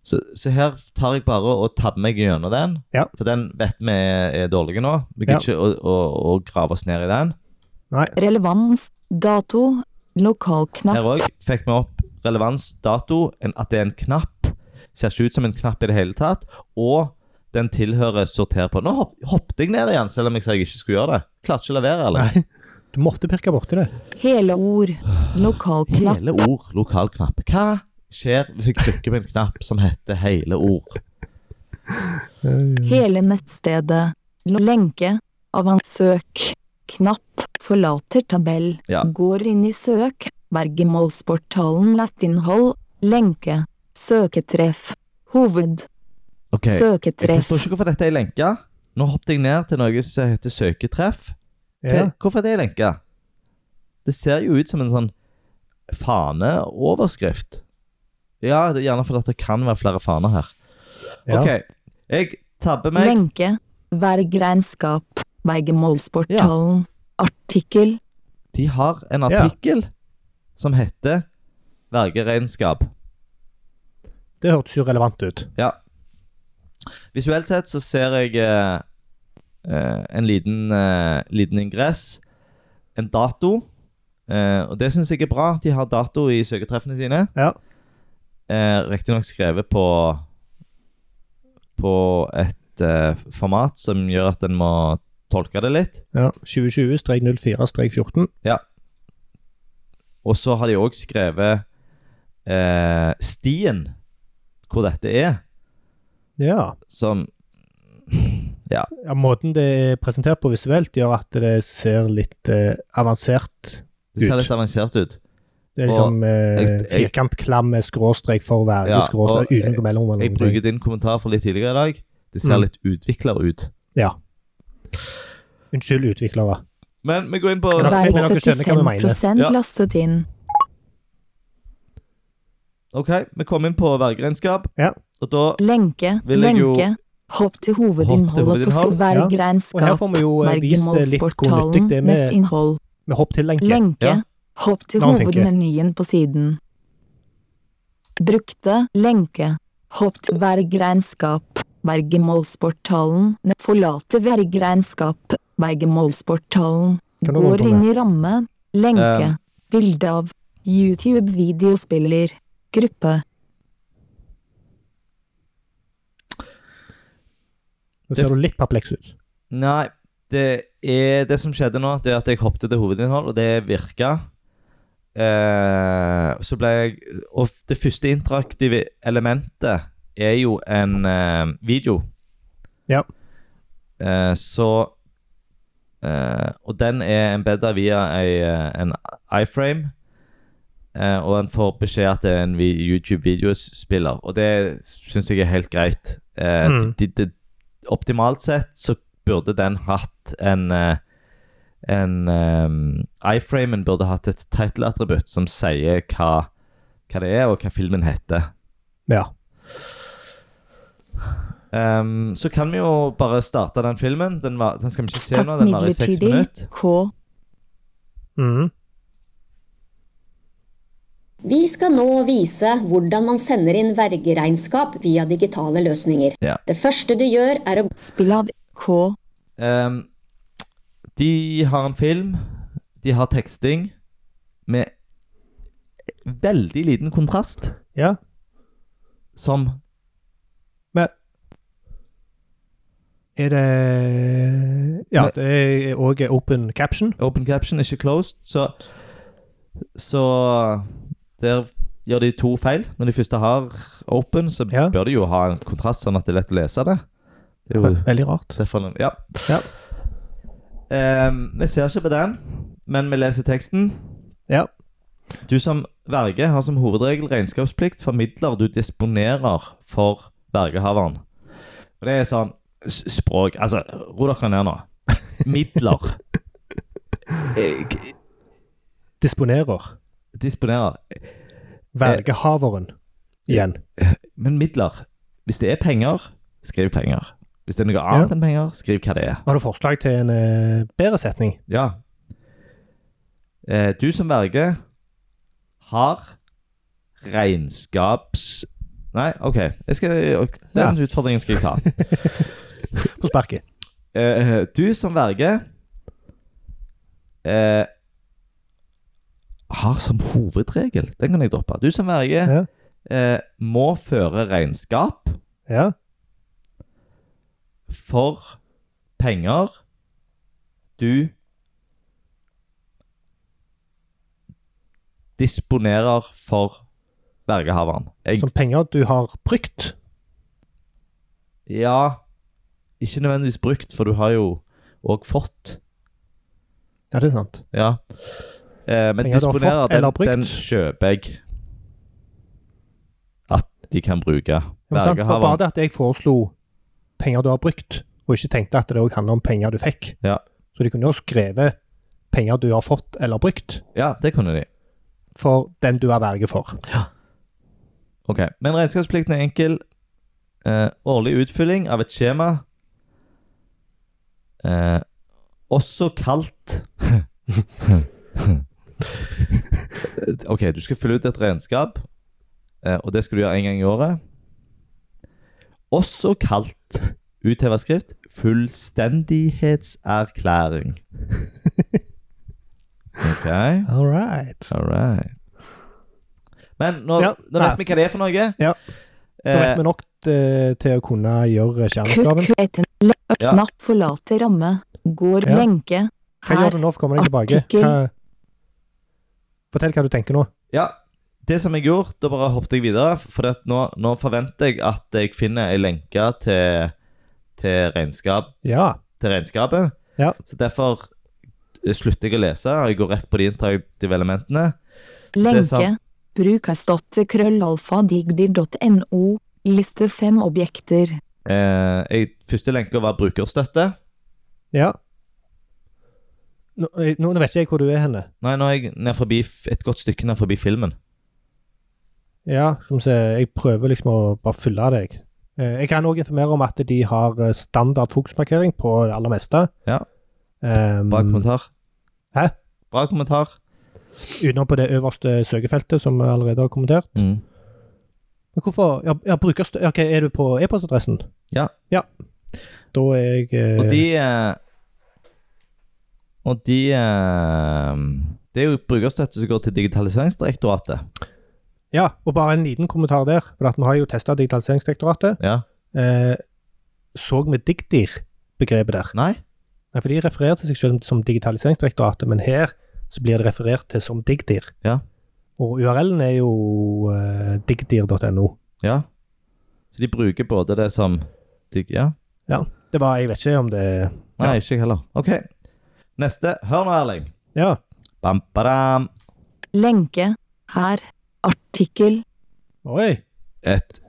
S2: Så, så her tar jeg bare og tabber meg gjennom den,
S1: Ja.
S2: for den vet vi er, er dårlig nå. Vi gidder ikke å, å, å grave oss ned i den.
S3: Relevans. Dato.
S2: Her
S3: Lokalknapp.
S2: òg fikk vi opp relevans, dato, en, at det er en knapp. Ser ikke ut som en knapp i det hele tatt. Og den tilhører sorter på. Nå hopp, hoppet jeg ned igjen, selv om jeg sa jeg ikke skulle gjøre det. Klarte ikke å la være, eller?
S1: Nei, du måtte pirke borti det.
S3: Hele ord. Lokalknapp.
S2: Hele ord, lokalknapp. Hva skjer hvis jeg trykker på en knapp som heter hele ord?
S3: Hele nettstedet. Lo- Lenke. Avansøk. Knapp. Forlater tabell.
S2: Ja.
S3: Går inn i søk. Vergemålsportalen Lattinnhold. Lenke. Søketreff. Hoved.
S2: Ok, Jeg
S3: Søketreff.
S2: forstår ikke hvorfor dette er lenka. Nå hoppet jeg ned til noe som heter søketreff. Hva,
S1: Ja.
S2: Hvorfor er det lenka? Det ser jo ut som en sånn faneoverskrift. Ja, det er gjerne fordi at det kan være flere faner her.
S1: Ja.
S2: Ok, jeg tabber meg.
S3: Lenke. Vergregnskap. Vergemålsportalen. Artikkel.
S2: De har en
S1: Ja.
S2: artikkel som heter Vergeregnskap.
S1: Det hørtes jo relevant ut.
S2: Ja. Visuelt sett så ser jeg eh, eh, en liten, eh, liten ingress, en dato, eh, og det syns jeg er bra. De har dato i søketreffene sine.
S1: Ja.
S2: Eh, Riktignok skrevet på på et eh, format som gjør at en må tolke det litt.
S1: ja. 2020-04-14.
S2: Og så har de òg skrevet eh, stien hvor dette er,
S1: Ja.
S2: som
S1: ja. Måten det er presentert på visuelt, gjør at det ser litt eh, avansert
S2: det ser
S1: Ut.
S2: litt avansert ut.
S1: Det er liksom eh,
S2: jeg- jeg-
S1: firkantklam med skråstrek for hver
S2: Ja, og
S1: skråstrek uten noe mellom. eller
S2: Jeg
S1: noen ting.
S2: bruker din kommentar fra litt tidligere i dag. Det ser
S1: Mm.
S2: litt utvikla ut.
S1: Unnskyld, utviklere.
S2: Men vi går inn på
S1: Men da-
S3: Vær
S1: men dere skjønner hva vi mener.
S3: 75
S2: Ja.
S3: lastet inn.
S2: Ok, vi kom inn på vergeregnskap.
S1: Ja.
S2: Og da
S3: Lenke.
S2: Vil jeg jo-
S3: Lenke. Hopp til hovedinnholdet på
S2: hovedinnhold,
S1: ja. Og her
S3: vergregnskap.
S1: får vi jo eh, vist eh, litt hvor nyttig det
S3: Vergemålsportalen,
S1: er med,
S3: nettinnhold,
S1: med hopp til lenke.
S3: lenke,
S2: Ja.
S3: hopp til
S1: La meg tenke.
S3: hovedmenyen på siden. Brukte, lenke, hopp til vergeregnskap, vergemålsportalen, ne- forlate vergeregnskap, vergemålsportalen,
S1: Kan du holde
S3: går
S1: på
S3: inn i ramme, lenke,
S2: Eh.
S3: bilde av, YouTube-videospiller, gruppe,
S1: Nå ser du litt perpleks ut.
S2: Nei, det er det som skjedde nå, det er at jeg hoppet til hovedinnhold, og det virka. Eh, så ble jeg Og det første interaktive elementet er jo en eh, video.
S1: Ja.
S2: Eh, så eh, Og den er embedda via ei, eh, en iframe. Eh, og en får beskjed at det er en vi- YouTube-videospiller. Og det syns jeg er helt greit. Eh,
S1: Mm.
S2: de, de, optimalt sett så burde den hatt en eh, en ehm, iframen burde hatt et title-attributt som sier hva, hva det er, og hva filmen heter.
S1: Ja.
S2: Ehm, så kan vi jo bare starte den filmen. Den, var, den skal vi ikke se nå,
S3: start
S2: den varer i seks
S3: midlertidig,
S2: minutter.
S3: K,
S1: Mhm.
S4: Vi skal nå vise hvordan man sender inn vergeregnskap via digitale løsninger.
S2: Ja.
S4: Det første du gjør er å
S3: Spill av K.
S2: Ehm, de har en film. De har teksting med veldig liten kontrast,
S1: Ja.
S2: som
S1: Men Er det Ja,
S2: Men-
S1: det er òg open caption.
S2: open caption, ikke closed. Så, så der gjør de to feil. Når de første har open, så
S1: Ja.
S2: bør de jo ha en kontrast, sånn at det er lett å lese det. Det er jo
S1: Veldig rart.
S2: derfor den Ja.
S1: Ja.
S2: Ehm, vi ser ikke på den, men vi leser teksten.
S1: Ja.
S2: Du som verge har som hovedregel regnskapsplikt for midler du disponerer for vergehaveren. Og det er sånn s- språk Altså, ro dere ned nå. Midler.
S1: Disponerer.
S2: Disponerer.
S1: Vergehaveren.
S2: Eh,
S1: Igjen.
S2: Men midler. Hvis det er penger, skriv penger. Hvis det er noe annet enn penger, skriv hva det er.
S1: Har du forslag til en eh, bedre setning?
S2: Ja. Eh, du som verge har regnskaps... Nei, OK. Jeg skal, den utfordringen skal jeg ta.
S1: På sparket.
S2: Eh, du som verge eh, har som hovedregel Den kan jeg droppe. Du som verge
S1: Ja.
S2: eh, må føre regnskap
S1: Ja.
S2: for penger du disponerer for vergehaveren. Jeg,
S1: Som penger du har brukt.
S2: ja Ikke nødvendigvis brukt, for du har jo òg fått.
S1: Ja, det er sant.
S2: Ja. Eh, men
S1: Penger du har fått
S2: disponerer,
S1: eller
S2: den,
S1: brukt?
S2: den kjøper jeg at de kan bruke.
S1: Ja, men sant? Det var bare
S2: Vergehaveren.
S1: det at jeg foreslo penger du har brukt, og ikke tenkte at det òg handler om penger du fikk.
S2: Ja.
S1: Så de kunne jo skrevet penger du har fått eller brukt,
S2: Ja, det kunne de.
S1: for den du er verge for.
S2: Ok, Men regnskapsplikten er enkel. Eh, årlig utfylling av et skjema, eh, også kalt Ok, du skal fylle ut et regnskap, eh, og det skal du gjøre én gang i året. Også kalt utheva skrift fullstendighetserklæring. Ok,
S1: All right.
S2: all right. Men nå,
S1: Ja,
S2: nå vet
S1: nei.
S2: vi hva det er for noe.
S1: Ja. Da
S2: Eh,
S1: vet vi nok eh, til å kunne gjøre kjerneoppgaven.
S3: Kutt-kutten.
S2: Ja.
S3: Knapp forlater ramme. Går
S1: Ja.
S3: lenke.
S1: Hva gjør
S3: Her.
S1: du nå? for å komme deg tilbake?
S3: artikkel.
S1: Hva... Fortell hva du tenker nå.
S2: Ja, det som jeg gjorde, da bare hoppet jeg videre, for at nå, nå forventer jeg at jeg finner en lenke til, til, regnskap,
S1: Ja.
S2: til regnskapet.
S1: Ja.
S2: Så derfor slutter jeg å lese, og jeg går rett på de interaktive elementene.
S3: Lenke.
S2: sant.
S3: Brukerstøtte krøllalfa digdir.no. Liste fem objekter.
S2: Eh, jeg, første lenke var brukerstøtte.
S1: ja. Nå, eh, nå nå vet ikke jeg hvor du er henne.
S2: Nei, nå er jeg ned forbi, f- et godt stykke ned forbi filmen.
S1: Ja, som se, jeg prøver liksom å bare fylle deg. Eh, Jeg kan òg informere om at de har eh, standard fokusmarkering på det aller meste.
S2: Ja.
S1: Ehm,
S2: Bra kommentar.
S1: Hæ?
S2: Bra kommentar.
S1: utenom på det øverste søkefeltet, som vi allerede har kommentert.
S2: Mm.
S1: Men hvorfor ja, ja, brukes, ja, ok, Er du på e-postadressen?
S2: Ja.
S1: Ja. Da er jeg eh,
S2: Og de eh, Og de eh, Det er jo brukerstøtte som går til Digitaliseringsdirektoratet.
S1: Ja, og bare en liten kommentar der. For at vi har jo testa Digitaliseringsdirektoratet.
S2: Ja.
S1: Eh, så vi Digdir-begrepet der?
S2: Nei?
S1: Nei, for de refererer til seg selv som Digitaliseringsdirektoratet, men her så blir det referert til som Digdir.
S2: Ja.
S1: Og URL-en er jo eh, digdir.no.
S2: Ja. Så de bruker både det som de, Ja.
S1: Det var, jeg vet ikke om det
S2: Nei, ikke jeg heller. OK. Neste. Hør nå, Erling.
S1: Ja.
S2: Bam, badam.
S3: Lenke. Her. Artikkel.
S1: Oi.
S2: Et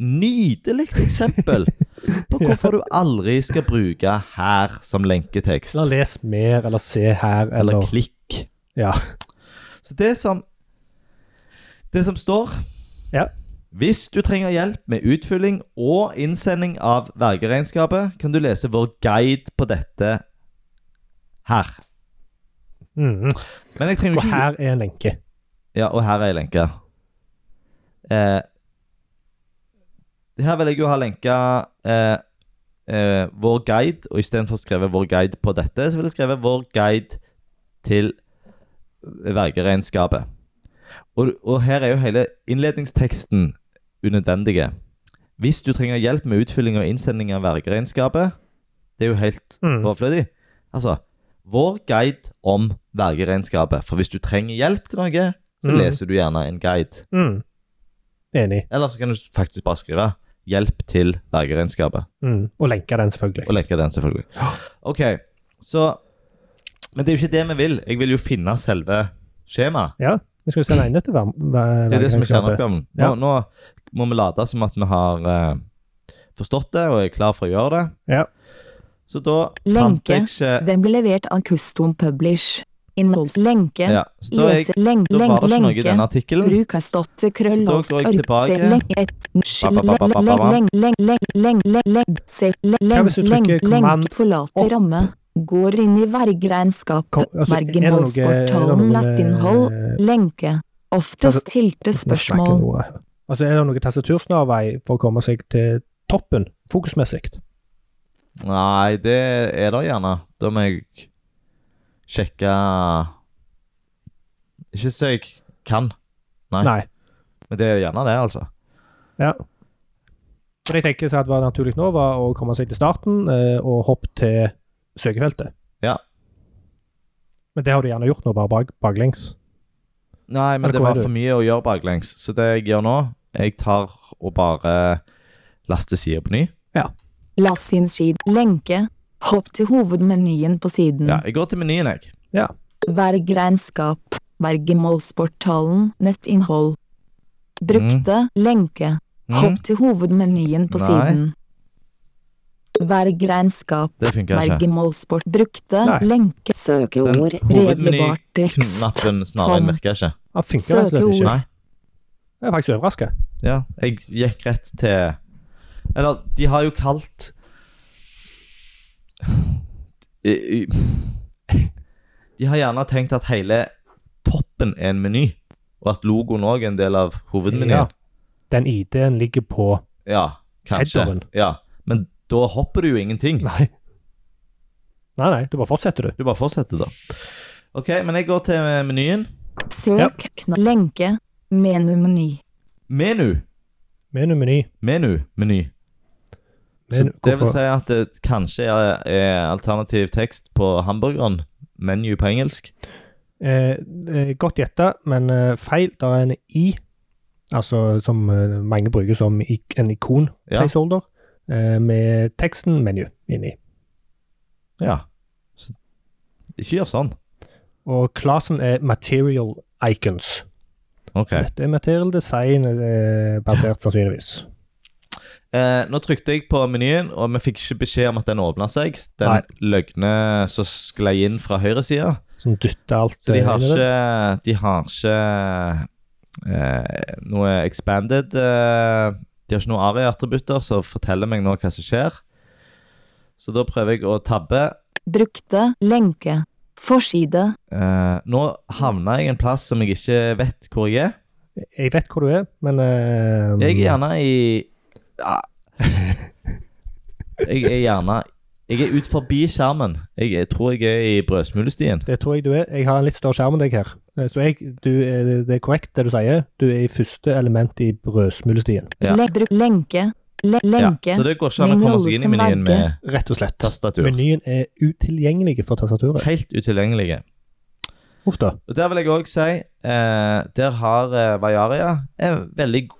S2: nydelig eksempel på hvorfor du aldri skal bruke 'her' som lenketekst.
S1: Eller les mer, eller se her, eller,
S2: Eller klikk.
S1: Ja.
S2: Så det som Det som står
S1: Ja.
S2: Hvis du trenger hjelp med utfylling og innsending av vergeregnskapet, kan du lese vår guide på dette her.
S1: Mhm.
S2: Men jeg trenger
S1: Mm, Og
S2: ikke
S1: her er en lenke.
S2: Ja, og her er ei lenke. Eh, her vil jeg jo ha lenka eh, eh, vår guide, og istedenfor skrevet 'vår guide på dette', så vil jeg skrevet 'vår guide til vergeregnskapet'. Og, og her er jo hele innledningsteksten unødvendige. Hvis du trenger hjelp med utfylling og innsending av vergeregnskapet Det er jo helt
S1: Mm.
S2: overflødig. Altså Vår guide om vergeregnskapet. For hvis du trenger hjelp til noe, så
S1: Mm.
S2: leser du gjerne en guide.
S1: Mm. Enig.
S2: Eller så kan du faktisk bare skrive 'hjelp til vergeregnskapet',
S1: Mm. Og lenke den, selvfølgelig.
S2: og lenke den, selvfølgelig. Ok, så Men det er jo ikke det vi vil. Jeg vil jo finne selve skjemaet.
S1: Ja, vi skal jo sende inn dette ver- ver-
S2: Det er det som er
S1: verdenskapet.
S2: kjerneoppgaven. Nå,
S1: Ja.
S2: nå må vi late som at vi har eh, forstått det og er klar for å gjøre det.
S1: Ja.
S2: Så da fant
S3: Lenke.
S2: jeg ikke
S3: Den ble levert av Custom Publish. Innholdslenke.
S2: ja, så da, jeg,
S3: Lese lenk,
S2: da var
S3: lenk,
S2: det ikke noe i
S3: lenke.
S2: denne artikkelen.
S3: Bruk har stått til krøll
S2: Da
S3: og
S2: går jeg tilbake. Ba, ba, ba, ba, ba, ba.
S1: Hva hvis du trykker
S3: Lenke,
S1: command
S3: lenke, forlater
S1: opp?
S3: ramme. Går inn i vergeregnskap.
S1: Kom- altså, er det noe-
S3: Vergenholdsportalen
S1: er det noe
S3: nettinnhold.
S1: med-
S3: Lenke. Oftest stilte spørsmål.
S1: Nå snakker jeg noe. Altså, er det noe tastatursnarvei for å komme seg til toppen, fokusmessig?
S2: Nei, det er det gjerne. Da må jeg sjekke Ikke så jeg kan, Nei.
S1: Nei.
S2: men det er gjerne det, altså.
S1: Ja. Så det jeg tenker at var naturlig nå, var å komme seg til starten eh, og hoppe til søkefeltet.
S2: Ja.
S1: Men det har du gjerne gjort nå, bare bak, baklengs.
S2: Nei, men
S1: Eller
S2: det
S1: hvor er
S2: var
S1: du?
S2: for mye å gjøre baklengs, så det jeg gjør nå Jeg tar og bare laster sider på ny.
S3: La sin side. Lenke. Hopp til hovedmenyen på siden.
S1: Mm.
S2: Ja, jeg går til menyen, jeg.
S3: Vergeregnskap. Vergemålsportalen. Nettinnhold. Brukte. Lenke.
S2: Mm,
S3: Hopp til hovedmenyen på
S2: Nei.
S3: siden. Vergeregnskap.
S2: det funker ikke.
S3: Vergemålsport. Brukte.
S1: Nei.
S3: Lenke.
S2: Den
S4: Søkeord.
S3: Redelig tekst.
S2: hovedmenyknappen snarere
S3: Tom.
S2: virker ikke.
S1: Han funker rett og slett
S3: Søkeord.
S1: ikke.
S2: Nei.
S1: Jeg er faktisk overraska.
S2: Ja, jeg gikk rett til Eller, de har jo kalt I- i- De har gjerne tenkt at hele toppen er en meny, og at logoen òg er en del av hovedmenyen.
S1: Den ID-en ligger på
S2: Ja, kanskje.
S1: Headeren.
S2: Ja. Men da hopper du jo ingenting.
S1: Nei. Nei, nei, du bare fortsetter, du.
S2: Du bare fortsetter, da. OK, men jeg går til menyen.
S3: Søk. Kna lenke. Menumeny.
S2: Menu.
S1: Menu, meny.
S2: Menu. Meny. Så
S1: Menu,
S2: det vil
S1: hvorfor-
S2: si at det kanskje er, er alternativ tekst på hamburgeren. Menu på engelsk.
S1: Eh, eh, godt gjetta, men eh, feil. Der er en I, altså som eh, mange bruker som ik en
S2: Ja.
S1: ikon-placeholder, eh, med teksten 'menu' inni.
S2: Ja. Så, ikke gjør sånn.
S1: Og klassen er 'material icons'.
S2: OK.
S1: Dette er material design eh, basert, sannsynligvis.
S2: Eh, nå trykte jeg på menyen, og vi fikk ikke beskjed om at den åpna seg. Den
S1: Nei.
S2: løgne som sklei inn fra høyresida.
S1: Som dytter alt
S2: Så de
S1: eh,
S2: har
S1: inn i det.
S2: ikke, de har ikke eh, noe expanded eh, De har ikke noen ARI-attributter som forteller meg nå hva som skjer. Så da prøver jeg å tabbe.
S3: Brukte. Lenke. Forside.
S2: Eh, nå havna jeg en plass som jeg ikke vet hvor jeg er.
S1: Jeg vet hvor du er, men eh,
S2: Jeg er gjerne i ja. Jeg er gjerne Jeg er ut forbi skjermen. Jeg, er- tror jeg er i brødsmulestien.
S1: Det tror jeg du er. Jeg har en litt større skjerm enn deg her. Eh, Så jeg, du, er- det er korrekt det du sier. Du er i første element i brødsmulestien.
S2: Ja.
S3: Le bruk lenke. Le
S2: Ja,
S3: lenke.
S2: så det går ikke an å
S3: Min
S2: komme
S3: rolle
S2: seg inn i
S3: som
S2: menyen med
S1: Rett og slett.
S2: tastatur.
S1: Menyen er utilgjengelig for tastaturet.
S2: Helt utilgjengelige.
S1: Uff da.
S2: Og Der vil jeg òg si eh, Der har eh, Vajaria eh, veldig go-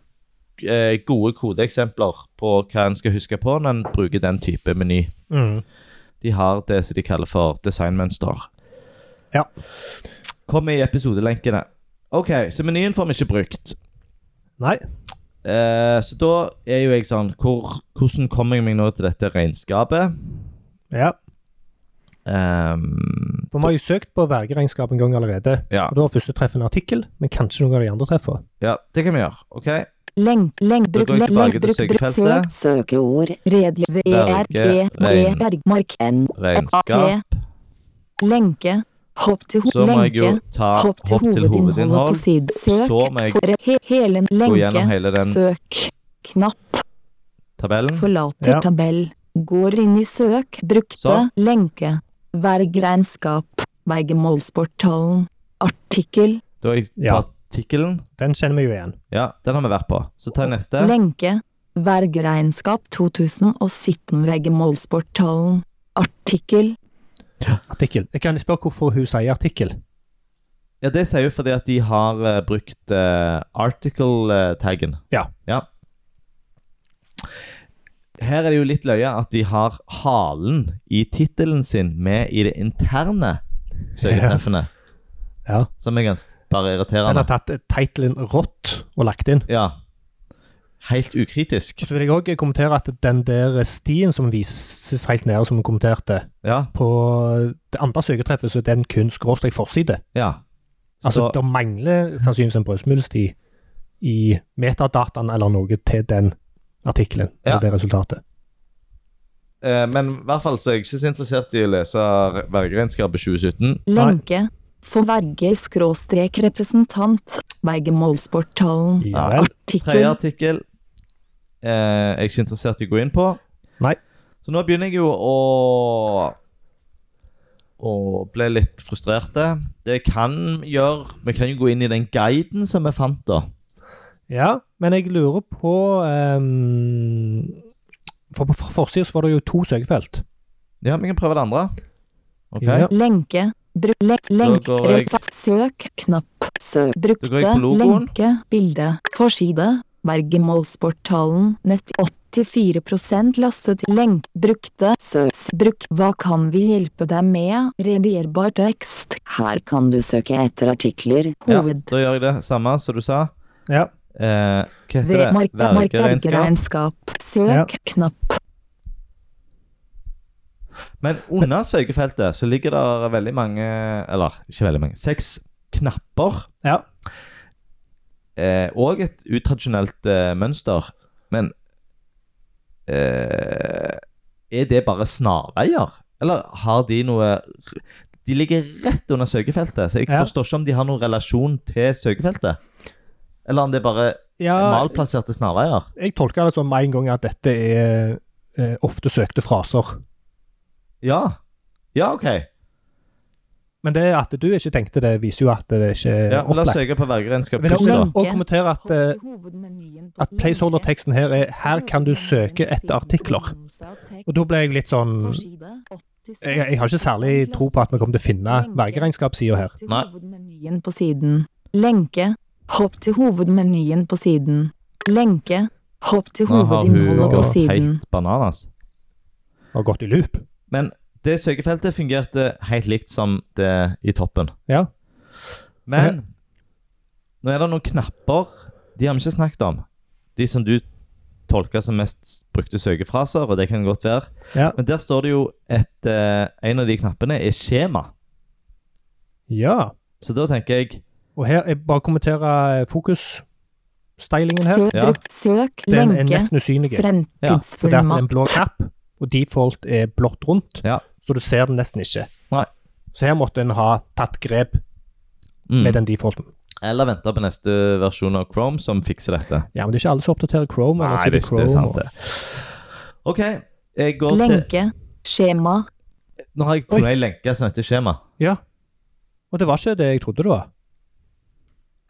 S2: eh, gode kodeeksempler på hva en skal huske på når en bruker den type meny.
S1: Mm.
S2: De har det som de kaller for designmønster.
S1: Ja.
S2: Kom i episodelenkene. OK, så menyen får vi ikke brukt.
S1: Nei.
S2: Eh, så da er jo jeg sånn hvor, Hvordan kommer jeg meg nå til dette regnskapet?
S1: Ja.
S2: Ehm,
S1: For vi har jo søkt på vergeregnskap en gang allerede.
S2: ja,
S1: Og da var første treff en artikkel, men kanskje noen av de andre treffer.
S2: ja, det kan vi gjøre. OK.
S3: Lenk, lenk,
S2: Da
S3: bruk,
S2: går jeg
S3: lenk,
S2: tilbake
S3: lenk,
S2: til
S3: bruk, bruk, søk, E,
S2: søkefeltet.
S4: Søkeord.
S3: redelig,
S2: Berge,
S3: VRG,
S2: regn.
S3: bergmark,
S4: N.
S2: Regnskap.
S3: lenke, Hopp til ho
S2: Så må jeg jo
S3: lenke.
S2: ta
S3: Hopp til hovedinnholdet på
S2: hovedinnhold.
S3: side. Søk
S2: Så må jeg
S3: for he hele
S2: Gå gjennom
S3: lenke.
S2: hele den
S3: Søk. Knapp.
S2: tabellen.
S3: Forlater
S1: Ja.
S3: tabell. Går inn i søk. Brukte.
S2: Sånn.
S3: Lenke. Vergregnskap. Vergemålsportalen. Artikkel.
S2: Da har jeg
S1: Ja.
S2: tatt artikkelen.
S1: Den kjenner vi jo igjen.
S2: Ja, den har vi vært på. Så tar jeg neste.
S3: Lenke. Vergeregnskap 2017 Vergemålsportalen. Artikkel.
S1: Artikkel. Jeg kan spørre hvorfor hun sier artikkel.
S2: Ja, Det sier jo fordi at de har eh, brukt eh, article-taggen.
S1: Ja.
S2: ja. Her er det jo litt løye at de har halen i tittelen sin med i det interne søketreffene.
S1: Ja.
S2: Som er ganske bare
S1: Den har
S2: irriterende.
S1: tatt titelen rått og lagt inn.
S2: Ja. Helt ukritisk.
S1: Og så vil jeg òg kommentere at den der stien som vises helt nede, som vi kommenterte,
S2: Ja.
S1: på det andre søketreffet, så er den kun skråstrek forside.
S2: ja.
S1: Altså,
S2: Så
S1: det mangler sannsynligvis en brødsmulesti i metadataen eller noe til den artikkelen,
S2: Ja.
S1: eller det resultatet.
S2: eh, Men i hvert fall så er jeg ikke så interessert i å lese vergeregnskapet 2017.
S3: Lenke. For verge skråstrek representant. Vergemålsportalen.
S1: Ja
S2: Nei.
S1: vel.
S2: Tredje
S3: Artikkel.
S2: artikkel eh, er jeg ikke interessert i å gå inn på.
S1: Nei.
S2: Så nå begynner jeg jo å Å bli litt frustrert. Det jeg kan gjøre Vi kan jo gå inn i den guiden som vi fant, da.
S1: Ja, men jeg lurer på ehm, For på forsida så var det jo to søkefelt.
S2: Ja, vi kan prøve det andre. Ok?
S1: Ja.
S3: Lenke. Bruk lenk, lenk,
S2: Da går jeg-
S3: refa- søk, knapp, søk,
S2: Da går jeg
S3: brukte,
S2: på logoen.
S3: lenke, bilde, forside, vergemålsportalen, nett 84 lastet, lenk, brukte, søk, bruk, hva kan vi hjelpe deg med, redigierbar tekst, her kan du søke etter artikler,
S2: Ja,
S3: hoved,
S2: da gjør jeg det samme som du sa.
S1: Ja.
S2: Eh, hva heter
S3: Ved
S2: det?
S3: mark- mark-
S2: Vergeregnskap?
S3: vergeregnskap,
S1: Ja.
S3: søk, knapp,
S2: Men under søkefeltet så ligger det veldig mange Eller ikke veldig mange. Seks knapper.
S1: ja.
S2: eh, og et utradisjonelt eh, mønster. Men eh, er det bare snarveier? Eller har de noe De ligger rett under søkefeltet, så jeg
S1: Ja.
S2: forstår ikke om de har noen relasjon til søkefeltet. Eller om det er bare
S1: ja
S2: malplasserte snarveier.
S1: jeg tolker det som med en gang at dette er eh, ofte søkte fraser.
S2: Ja. Ja, OK.
S1: Men det at du ikke tenkte det, viser jo at det ikke er
S2: Ja, men la
S1: Eh,
S2: oss
S1: opplagt.
S2: søke på vergeregnskap
S1: Vil
S2: først,
S1: jeg
S2: da.
S1: også kommentere at eh, at placeholder-teksten her er 'Her kan du søke etter artikler'. Og da ble jeg litt sånn jeg, jeg har ikke særlig tro på at vi kommer til å finne vergeregnskapssida her.
S3: til
S2: Nei.
S3: hovedmenyen på siden. Lenke. Hopp til hovedmenyen på siden. Lenke. Hopp til
S2: Nå har hun
S3: hovedinnholdet på
S2: gått
S3: siden.
S2: helt bananas.
S1: Har gått i loop.
S2: Men det søkefeltet fungerte helt likt som det i toppen.
S1: Ja.
S2: Men nå er det noen knapper De har vi ikke snakket om. De som du tolker som mest brukte søkefraser, og det kan godt være.
S1: Ja.
S2: Men der står det jo et eh, En av de knappene er skjema.
S1: ja.
S2: Så da tenker jeg
S1: Og her jeg bare kommentere fokusstylingen her.
S3: Søk,
S2: Ja.
S3: bruk, søk,
S1: Den er
S3: lenke.
S1: nesten usynlig. For det er en
S3: Fremtidsfullmakt.
S1: blå knapp, og default er blått rundt,
S2: Ja.
S1: så du ser den nesten ikke.
S2: Nei.
S1: Så her måtte en ha tatt grep
S2: mm.
S1: med den defaulten.
S2: Eller venter på neste versjon av Chrome som fikser dette.
S1: Ja, men det er ikke alle som oppdaterer Chrome. eller så
S2: det er ikke det
S1: Chrome,
S2: er sant,
S1: og-
S2: det. OK. Jeg går til
S3: Lenke. Skjema.
S2: Nå har jeg
S1: Oi.
S2: funnet ei lenke som heter skjema.
S1: Ja. Og det var ikke det jeg trodde det var.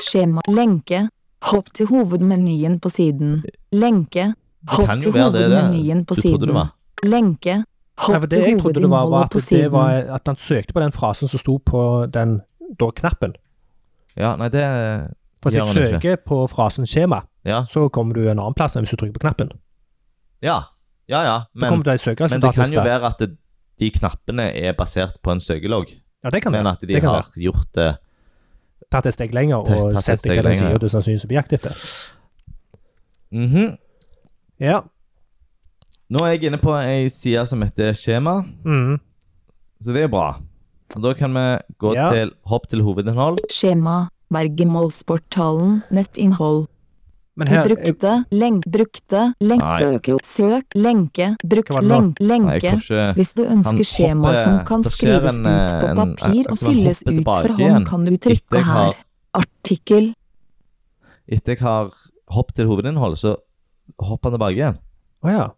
S3: Skjema. Lenke. Hopp til hovedmenyen på siden. Lenke.
S2: Det
S3: Hopp
S2: kan jo
S3: til
S2: være det, det
S3: hovedmenyen
S2: du
S3: på
S2: trodde det
S3: siden.
S2: var.
S3: Lenke.
S1: Nei,
S3: Hopp
S1: for det
S3: til
S1: jeg trodde det var, var
S3: hovedinnholdet
S1: at,
S3: på
S1: det var
S3: siden.
S1: at han søkte på den frasen som sto på den da knappen.
S2: Ja, nei, det
S1: For
S2: Gjør
S1: hvis jeg
S2: han ikke.
S1: søker på frasen skjema,
S2: Ja.
S1: så kommer du en annen plass enn hvis du trykker på knappen.
S2: Ja, ja. ja
S1: Da
S2: men
S1: kommer det et
S2: Men det kan jo
S1: søkeresultatliste.
S2: være at det, de knappene er basert på en søkelogg,
S1: Ja, det kan
S2: men
S1: være.
S2: at de
S1: Det kan
S2: har
S1: være.
S2: gjort det
S1: Tatt et steg lenger
S2: Tatt-
S1: og
S2: tatt et
S1: sett
S2: steg
S1: hva den
S2: lenger, ja.
S1: sier du sannsynligvis blir jakt etter.
S2: Mhm.
S1: Ja.
S2: Nå er jeg inne på ei side som heter skjema,
S1: Mm.
S2: så det er bra. Og da kan vi gå
S1: Ja.
S2: til hopp til hovedinnhold.
S3: Skjema. Vergemålsportalen. Nettinnhold.
S1: Men her jeg,
S3: brukte, lenk, brukte, lenk,
S2: Nei.
S3: søk, søk, lenke, brukt,
S1: Hva var det nå?
S3: lenk,
S2: Nei, jeg
S3: lenke.
S2: får ikke
S3: Hvis du ønsker skjema
S2: hopper-
S3: som kan
S2: det skjer
S3: skrives
S2: en,
S3: ut på
S2: en-
S3: papir
S2: akkurat
S3: og
S2: som han
S3: fylles
S2: hopper
S3: ut for
S2: tilbake igjen.
S3: hånd, kan du
S2: Etter
S3: trykke
S2: jeg har,
S3: her. Artikkel.
S2: etter jeg har hoppet til hovedinnholdet, så hopper han tilbake igjen.
S1: Å ja.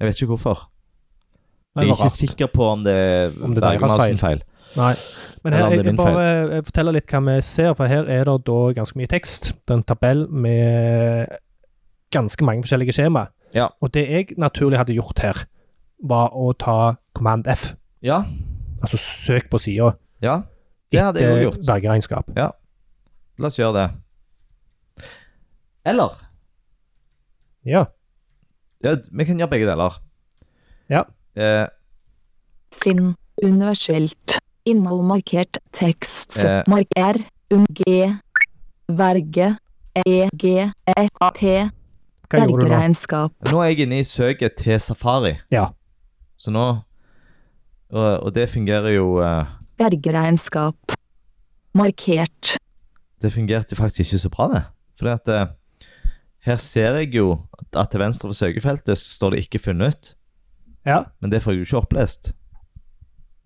S2: Jeg vet ikke hvorfor.
S1: Det
S2: Jeg er
S1: var
S2: ikke
S1: rart.
S2: sikker på om det er
S1: Om det er deres
S2: Bergmansen feil.
S1: Nei. Men
S2: Eller om
S1: her,
S2: det
S1: jeg,
S2: er min
S1: jeg bare eh, jeg forteller litt hva vi ser, for her er det da ganske mye tekst. Det er en tabell med ganske mange forskjellige skjema.
S2: Ja.
S1: Og det jeg naturlig hadde gjort her, var å ta command F,
S2: Ja,
S1: altså søk på sida
S2: ja. Det hadde jeg også
S1: etter
S2: gjort.
S1: bergeregnskap.
S2: La oss gjøre det. Eller
S1: Ja.
S2: ja, Vi kan gjøre begge deler.
S1: Ja.
S2: Eh,
S3: Finn. Universelt. Innhold markert tekst.
S2: Eh.
S3: Mark R. Un G. Verge. E. EG. EP.
S1: Hva gjorde du nå?
S3: Bergeregnskap.
S2: nå er jeg inne i søket til Safari.
S1: Ja.
S2: Så nå Og, og det fungerer jo eh,
S3: Bergeregnskap. Markert.
S2: det fungerte faktisk ikke så bra, det. Fordi at eh, her ser jeg jo at til venstre for søkefeltet så står det 'ikke funnet',
S1: ja.
S2: men det får jeg jo ikke opplest.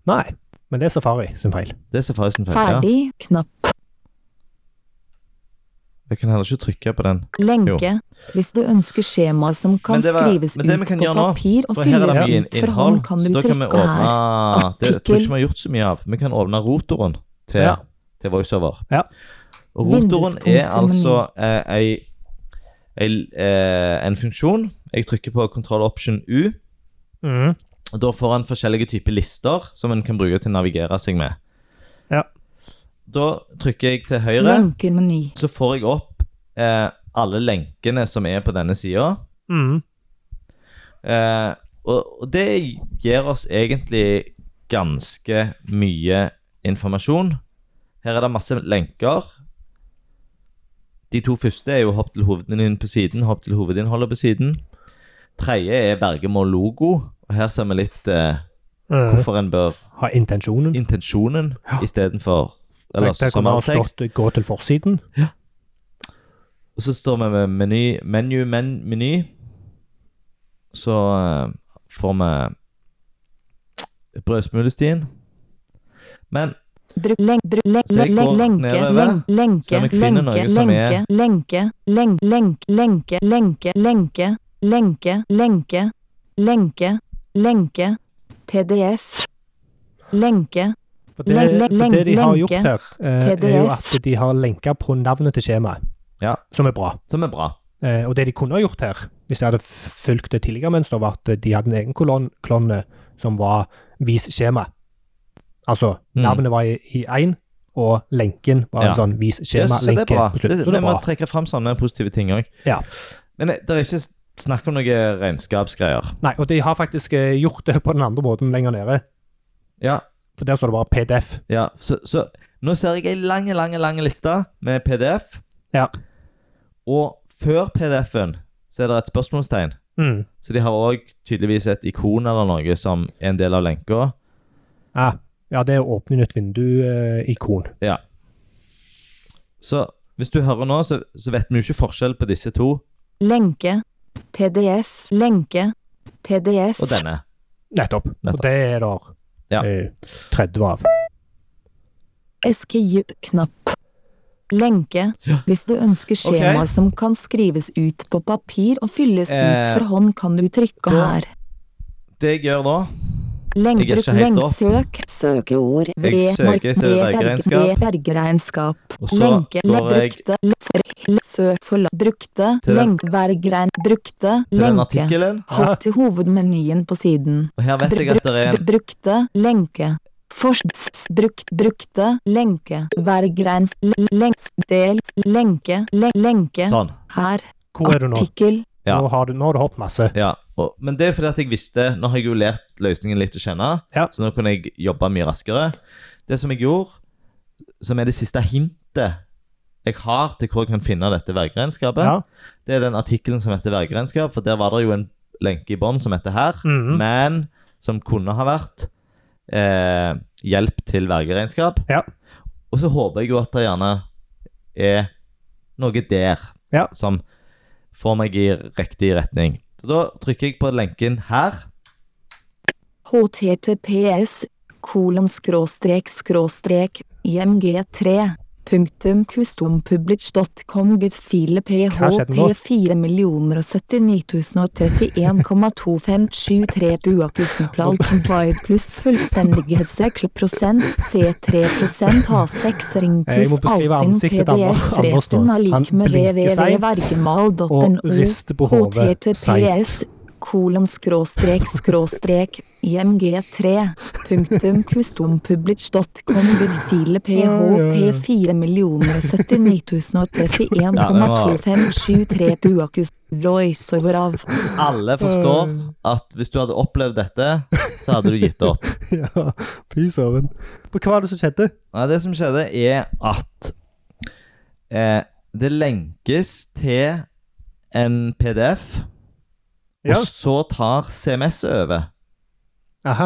S1: Nei. Men det er Safari sin feil.
S2: Det er Safari sin feil. Ja.
S3: Ferdig. Knapp.
S2: Jeg kan heller ikke trykke på den.
S3: Lenke. Hvis du ønsker skjema som kan
S2: Men det var-
S3: skrives
S2: men det vi
S3: ut
S2: kan
S3: på
S2: gjøre nå,
S3: papir og
S2: For her er
S3: fylles
S2: det mye
S3: ut
S2: inn-
S3: for hånd,
S2: innhold,
S3: kan
S2: så
S3: du
S2: da kan vi
S3: trykke her.
S2: åpne Ah, Det tror jeg ikke vi
S3: Artikkel.
S2: har gjort så mye av. Vi kan åpne rotoren til,
S1: Ja.
S2: til voiceover.
S1: Ja.
S2: Og rotoren
S3: Vinduspunkt
S2: er
S3: til
S2: altså eh, ei, ei, eh, en funksjon. Jeg trykker på control option U.
S1: Mhm.
S2: Og Da får en forskjellige typer lister som en kan bruke til å navigere seg med.
S1: Ja.
S2: Da trykker jeg til høyre,
S3: Lenkermeny.
S2: så får jeg opp eh, alle lenkene som er på denne sida.
S1: Mhm.
S2: Eh, og, og det gir oss egentlig ganske mye informasjon. Her er det masse lenker. De to første er jo hopp til hovedinnholdet på siden, hopp til hovedinnholdet på siden. Tredje er Bergemo-logo. Og her ser vi litt eh,
S1: Mhm.
S2: hvorfor en bør
S1: Ha intensjonen.
S2: intensjonen
S1: Ja.
S2: istedenfor Eller
S1: Der
S2: som
S1: kunne
S2: all
S1: ha
S2: tekst.
S1: stått 'gå til forsiden'.
S2: Og så står vi med meny, menu, men, meny. Så eh, får vi brødsmulestien. Men
S3: Bruk lenk, bruk lenk,
S2: Så jeg
S3: lenk,
S2: går
S3: lenke,
S2: nedover,
S3: lenk, lenke,
S2: ser om jeg finner
S3: lenke,
S2: noe som
S3: lenke,
S2: er-
S3: lenke, lenk, lenk, lenke, lenke, lenke, lenke, lenke, lenke, lenke, PDF, lenke,
S1: For det,
S3: Len- len-
S1: for det de har
S3: lenke.
S1: gjort her, eh, er jo
S3: PDF.
S1: at de har lenka på navnet til skjemaet,
S2: Ja.
S1: som er bra.
S2: som er bra.
S1: Eh, og det de kunne ha gjort her, hvis de hadde f- fulgt det tidligere mønsteret, var at de hadde en egen kolonn kolonne som var 'vis skjema'. Altså,
S2: Mm.
S1: navnet var i- i én, og lenken var en
S2: Ja.
S1: sånn 'vis
S2: Jeg synes det
S1: skjema'-lenke
S2: er bra.
S1: på slutten.
S2: Det-
S1: Så det er
S2: Vi må
S1: bra.
S2: trekke fram sånne positive ting òg.
S1: Ja.
S2: Men eh, det det er ikke snakk om noe regnskapsgreier.
S1: Nei, og de har faktisk eh, gjort det på den andre måten lenger nede.
S2: Ja,
S1: For der står det bare PDF.
S2: ja. Så, så nå ser jeg ei lang, lang, lang liste med PDF.
S1: Ja.
S2: Og før PDF-en så er det et spørsmålstegn.
S1: Mm.
S2: Så de har òg tydeligvis et ikon eller noe som er en del av lenka.
S1: Ah, ja, det er å åpne nytt vindu-ikon.
S2: Ja. Så hvis du hører nå, så, så vet vi jo ikke forskjell på disse to
S3: lenke, PDF, lenke, PDF,
S2: og denne.
S1: Nettopp. Og
S2: Nettopp.
S1: det er der
S2: Ja.
S1: eh, 30 av.
S3: eskejup-knapp. Lenke,
S2: Ja.
S3: hvis du ønsker skjema
S2: Ok.
S3: som kan skrives ut på papir og fylles ut
S2: Eh,
S3: for hånd, kan du trykke
S2: da-
S3: her.
S2: Det jeg gjør da
S3: Lenk,
S2: Jeg er
S3: bruk
S2: ikke helt
S3: lenk,
S2: opp.
S3: søk,
S4: Søkeord.
S2: Jeg
S3: ved,
S2: søker etter
S3: ved,
S2: bergregnskap.
S3: ved, bergregnskap.
S2: Og så
S3: lenke, le,
S2: går jeg
S3: brukte, le, for, le, søk, for, la- brukte,
S2: Til den-
S3: lenk, vergrein, brukte,
S2: til den
S3: lenke.
S2: artikkelen,
S3: Hopp til hovedmenyen på siden.
S2: og her vet jeg at det er en
S3: brukte, lenke. Forsks, brukt, brukte, lenke. Vergreins, lenks, dels, lenke, le, lenke.
S2: Sånn.
S3: Her,
S1: Hvor er du nå?
S3: artikkel,
S2: Ja.
S1: Nå, har du, nå har du hoppet masse.
S2: Ja. Og, men det er fordi at jeg visste Nå har jeg jo lært løsningen litt å kjenne,
S1: Ja.
S2: så nå kunne jeg jobbe mye raskere. Det som jeg gjorde, som er det siste hintet jeg har til hvor jeg kan finne dette vergeregnskapet,
S1: Ja.
S2: det er den artikkelen som heter vergeregnskap, for der var det jo en lenke i bånn som heter her,
S1: Mhm.
S2: men som kunne ha vært eh, hjelp til vergeregnskap.
S1: Ja.
S2: Og så håper jeg jo at det gjerne er noe der
S1: Ja.
S2: som får meg i riktig retning. Så da trykker jeg på lenken her.
S3: https kolon skråstrek skråstrek img3 punktum custompublish.com gudfile
S1: Hva skjedde nå?
S3: php 4 millioner og 79.031,2573 buakusenplal combined pluss fullstendighetssekl prosent C3 prosent H6 ring
S1: Jeg
S3: pluss
S1: må beskrive
S3: Altinn
S1: ansiktet til Anders-
S3: PDF
S1: Anders nå.
S3: retten er lik
S1: Han
S3: med
S1: blinker seg
S3: www.vergemal.no
S1: og rister på hodet
S3: https kolon skråstrek skråstrek img3 punktum custompublish.com gudfile php 4 millioner og 79.031,2573 buakus Royce over av
S2: Alle forstår
S1: Øh.
S2: at hvis du hadde opplevd dette, så hadde du gitt opp.
S1: Ja, fy søren. For Hva var det som skjedde?
S2: Nei, det som skjedde, er at eh, det lenkes til en PDF,
S1: Ja.
S2: og så tar CMS over.
S1: Aha.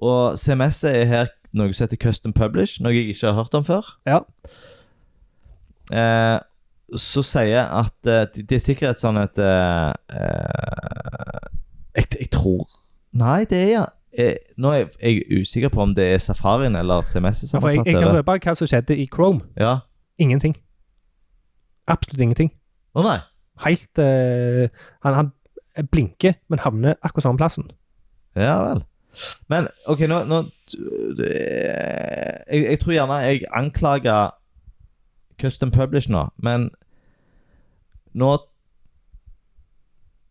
S2: Og CMS er her noe som heter Custom Publish, noe jeg ikke har hørt om før.
S1: Ja.
S2: Eh, så sier at eh, det det er sikkert sånn at eh, eh, jeg, jeg tror Nei, det er ja. Eh, nå er jeg, jeg er usikker på om det er Safarien eller CMS som
S1: For
S2: har
S1: jeg, jeg
S2: tatt
S1: kan
S2: over.
S1: røpe hva som skjedde i Chrome.
S2: Ja.
S1: Ingenting. Absolutt ingenting.
S2: Å nei.
S1: Helt eh, han, han blinker, men havner akkurat samme plassen.
S2: Ja vel. Men OK, nå, nå det, jeg, jeg tror gjerne jeg anklager Custom Publish nå, men nå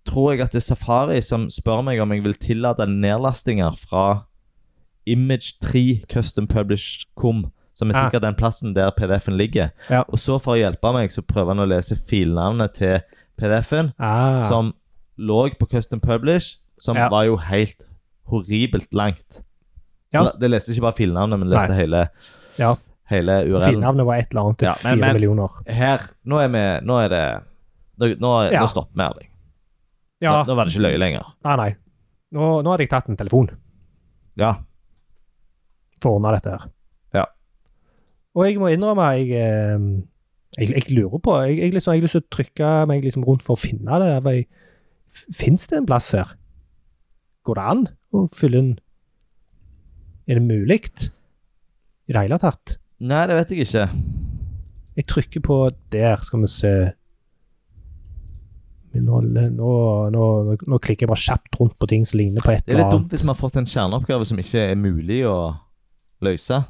S2: tror jeg at det er Safari som spør meg om jeg vil tillate nedlastinger fra Image3 Custom Publish.com, som er
S1: Ah.
S2: sikkert den plassen der PDF-en ligger.
S1: Ja.
S2: Og så, for å hjelpe meg, så prøver han å lese filnavnet til PDF-en
S1: Ah.
S2: som lå på Custom Publish, som
S1: Ja.
S2: var jo helt horribelt langt.
S1: Ja.
S2: Eller, Det leste ikke bare filnavnet, men leste
S1: Nei.
S2: hele,
S1: Ja.
S2: hele URL-en.
S1: Finnavnet var et eller annet til
S2: Ja, men-
S1: fire
S2: men-
S1: millioner.
S2: Her, nå er vi Nå er det Nå, nå,
S1: Ja.
S2: nå stopper vi, Erling.
S1: Ja,
S2: Nå, nå var det ikke løye lenger.
S1: nei, nei. Nå, nå hadde jeg tatt en telefon
S2: Ja.
S1: for å ordne dette her.
S2: Ja.
S1: Og jeg må innrømme, jeg, eh, jeg, jeg lurer på Jeg, jeg, liksom, jeg har lyst til å trykke meg liksom rundt for å finne det. der, for jeg- f- Fins det en plass her? Går det an å fylle en Er det mulig? I det hele tatt?
S2: Nei, det vet jeg ikke.
S1: Jeg trykker på der, skal vi se. Men Nå, nå, nå, nå klikker jeg bare kjapt rundt på ting som ligner på et
S2: Det er
S1: eller
S2: litt
S1: annet.
S2: dumt hvis vi har fått en kjerneoppgave som ikke er mulig å løse.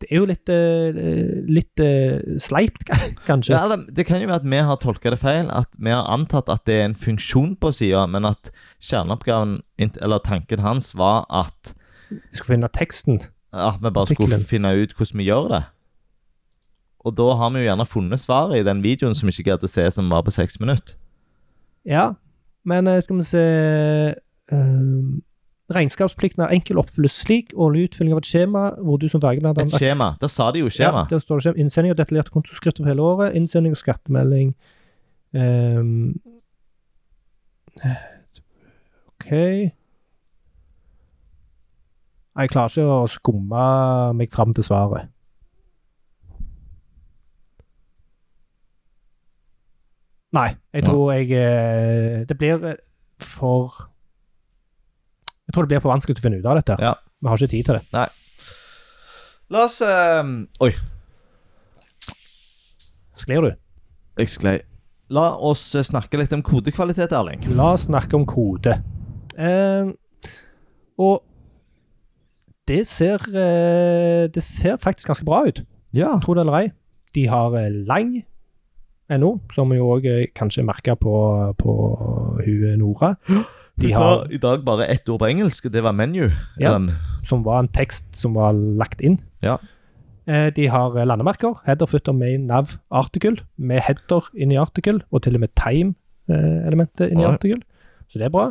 S1: Det er jo litt, eh, litt eh, sleipt, kanskje.
S2: Ja, eller, det kan jo være at vi har tolka det feil. At vi har antatt at det er en funksjon på sida, men at kjerneoppgaven, int- eller tanken hans, var at
S1: Jeg skal finne teksten.
S2: at Ah, vi bare skulle
S1: Artikkelen.
S2: finne ut hvordan vi gjør det. Og da har vi jo gjerne funnet svaret i den videoen som ikke gadd å se, som var på seks minutter.
S1: Ja, men eh, skal vi se ehm, Regnskapsplikten er enkel oppfylles slik. Årlig utfylling av et skjema hvor du som verge blant
S2: Et
S1: annet
S2: skjema. Der sa de jo
S1: ja,
S2: skjema.
S1: der står det skjema. Innsending av detaljerte kontoskrift for hele året. Innsending av skattemelding. Ehm, OK Jeg klarer ikke å skumme meg fram til svaret. Nei, jeg tror jeg eh, Det blir for Jeg tror det blir for vanskelig å finne ut av dette. her.
S2: Ja.
S1: Vi har ikke tid til det.
S2: La oss ehm, Oi,
S1: Sklir du?
S2: jeg sklei. La oss eh, snakke litt om kodekvalitet, Erling.
S1: La oss snakke om kode. Eh, og det ser, eh, det ser faktisk ganske bra ut,
S2: Ja.
S1: tro det eller ei. De har eh, lang NO, som jo òg kanskje merker på, på hun Nora.
S2: De
S1: De
S2: sa
S1: har,
S2: i dag bare ett ord på engelsk, og det var menu.
S1: Ja.
S2: Um,
S1: som var en tekst som var lagt inn.
S2: Ja.
S1: Eh, de har eh, landemerker. Header, footer, main, nav, article. Med header inn i article, og til og med time-elementet inn i
S2: Ja.
S1: article. Så det er bra.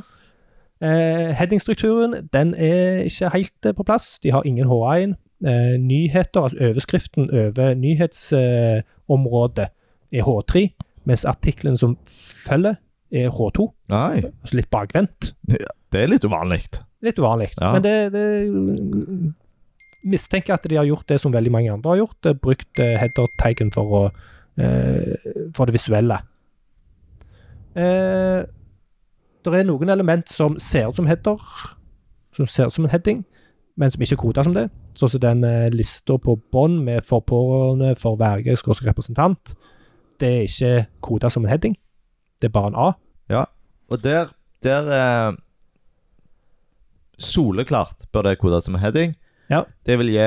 S1: Eh, Headingstrukturen den er ikke helt eh, på plass. De har ingen HA-en. Eh, nyheter, altså overskriften over nyhetsområdet, eh, området er H3, mens artikkelen som følger, er H2.
S2: Nei,
S1: Altså litt bakvendt.
S2: det er litt uvanlig.
S1: Litt uvanlig.
S2: Ja.
S1: Men det, det Mistenker at de har gjort det som veldig mange andre har gjort. eh, Brukt eh, header-taggen for, å, eh, for det visuelle. Eh, det er noen element som ser ut som header, som ser ut som en heading, men som ikke er kodet som det. Sånn som den eh, lista på bånn med for pårørende for verge skråstrek representant. Det er ikke kodet som en heading. Det er bare en A.
S2: Og der, der eh, Soleklart bør det kodes som en heading.
S1: Ja.
S2: Det vil gi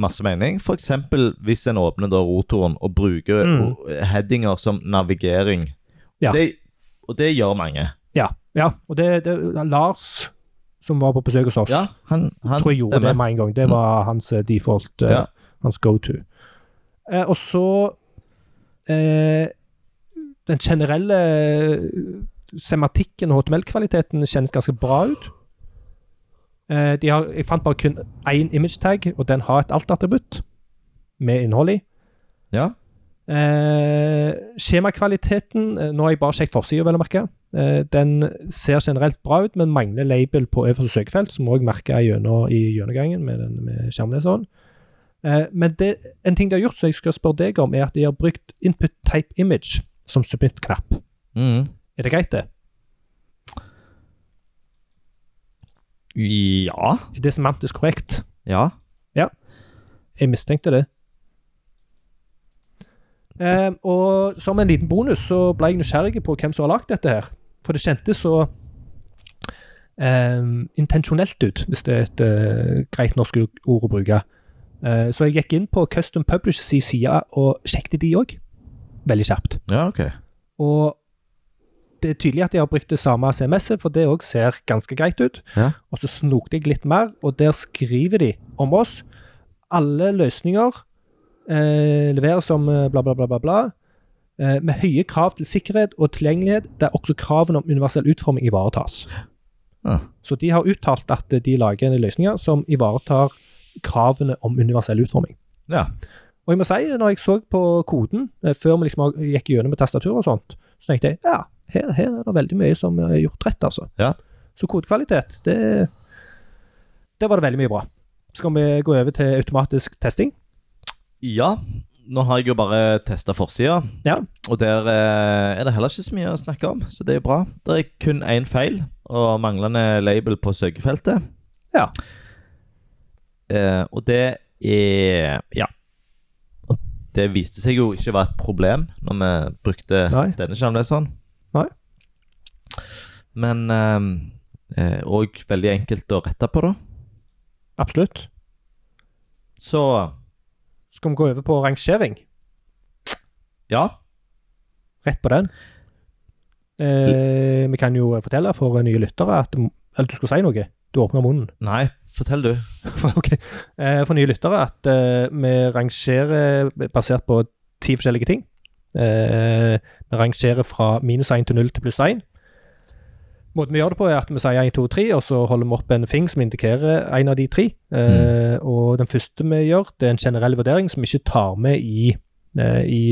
S2: masse mening. F.eks. hvis en åpner da rotoren og bruker
S1: Mm.
S2: o- headinger som navigering.
S1: Ja.
S2: Det, og det gjør mange.
S1: Ja. ja. Og det, det Lars, som var på besøk hos oss,
S2: Ja, han, han
S1: tror jeg gjorde det
S2: stemmer. Mm.
S1: med en gang. Det var hans eh, default, eh,
S2: Ja.
S1: hans go-to. Eh, og så eh, Den generelle eh, sematikken og HTML-kvaliteten kjennes ganske bra ut. Eh, de har, jeg fant bare kun én image tag, og den har et alt-attributt med innhold i.
S2: Ja.
S1: Eh, skjemakvaliteten eh, Nå har jeg bare sjekket forsida, vel å merke. Eh, den ser generelt bra ut, men mangler label på øverste søkefelt, som òg merka i gjennomgangen med, den- med skjermleseren. Eh, men det, en ting de har gjort, som jeg skal spørre deg om, er at de har brukt input type image som submit-knapp.
S2: Mm.
S1: Er det greit, det?
S2: Ja.
S1: Er det semantisk korrekt?
S2: Ja.
S1: Jeg mistenkte det. Eh, og som en liten bonus så ble jeg nysgjerrig på hvem som har lagd dette her. For det kjentes så eh, intensjonelt ut, hvis det er et eh, greit norsk ord å bruke. Eh, så jeg gikk inn på Custom Publishers sin side og sjekket de òg. Veldig kjapt.
S2: Ja, OK.
S1: Og det er tydelig at de har brukt det samme CMS-et, for det òg ser ganske greit ut.
S2: Ja.
S1: Og så snokte jeg litt mer, og der skriver de om oss. Alle løsninger eh, leveres som eh, bla, bla, bla, bla, bla. Eh, med høye krav til sikkerhet og tilgjengelighet, der også kravene om universell utforming ivaretas.
S2: Ja.
S1: Så de har uttalt at de lager en løsning som ivaretar kravene om universell utforming.
S2: Ja.
S1: Og jeg må si, når jeg så på koden, eh, før vi liksom gikk gjennom med tastatur og sånt, så tenkte jeg ja, her, her er det veldig mye som er gjort rett, altså.
S2: Ja.
S1: Så kodekvalitet, det Der var det veldig mye bra. Skal vi gå over til automatisk testing?
S2: Ja, nå har jeg jo bare testa forsida,
S1: Ja.
S2: og der eh, er det heller ikke så mye å snakke om, så det er jo bra. Det er kun én feil og manglende label på søkefeltet.
S1: Ja.
S2: Eh, og det er Ja. Og Det viste seg jo ikke var et problem når vi brukte
S1: Nei.
S2: denne skjermleseren.
S1: Nei.
S2: Men òg veldig enkelt å rette på, da.
S1: Absolutt.
S2: Så
S1: Skal vi gå over på rangering?
S2: ja.
S1: Rett på den. Eh, vi kan jo fortelle for nye lyttere at Eller du skulle si noe? Du åpner munnen.
S2: Nei, fortell du.
S1: For, ok. Eh, for nye lyttere at eh, vi rangerer basert på ti forskjellige ting. Eh, vi rangerer fra minus 1 til 0 til pluss 1. Måten vi gjør det på, er at vi sier 1, 2, 3, og så holder vi opp en fing som indikerer en av de tre. Eh, Og den første vi gjør, det er en generell vurdering som vi ikke tar med i, eh, i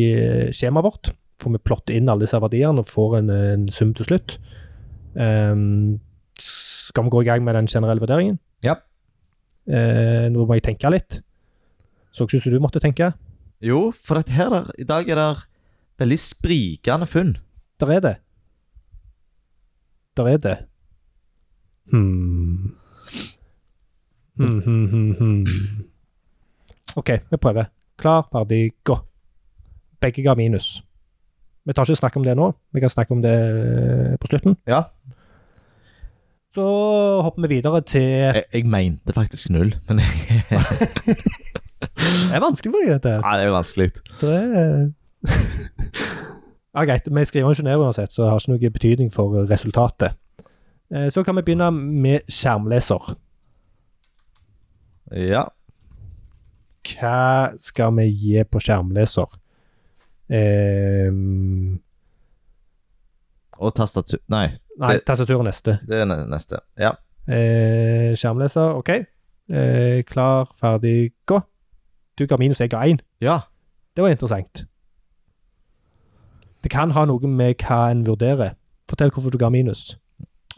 S1: skjemaet vårt. For vi plotter inn alle disse verdiene og får en, en sum til slutt. Ehm, skal vi gå i gang med den generelle vurderingen?
S2: Ja.
S1: Eh, nå må jeg tenke litt. Så ikke ut som du måtte tenke.
S2: Jo, for dette her der, i dag er det veldig sprikende funn.
S1: Der er det. Der er det. Hmm. Hmm, hmm, hmm, hmm. OK, vi prøver. Klar, ferdig, gå. Begge ga minus. Vi tar ikke snakk om det nå. Vi kan snakke om det eh, på slutten.
S2: Ja.
S1: Så hopper vi videre til
S2: Jeg, jeg mente faktisk null, men jeg,
S1: Det er vanskelig for deg, dette.
S2: ja, det er vanskelig.
S1: Det er Ja, greit. Vi skriver den ikke ned uansett, så det har ikke noe betydning for resultatet. Eh, Så kan vi begynne med skjermleser.
S2: Ja.
S1: Hva skal vi gi på skjermleser? Eh, nei,
S2: Og tastatur Nei, Det-
S1: tastatur er neste.
S2: det er ne- neste. Ja.
S1: Eh, skjermleser, OK. Eh, klar, ferdig, gå. Du ga minus, jeg ga én.
S2: Ja.
S1: Det var interessant. Det kan ha noe med hva en vurderer. Fortell hvorfor du ga minus.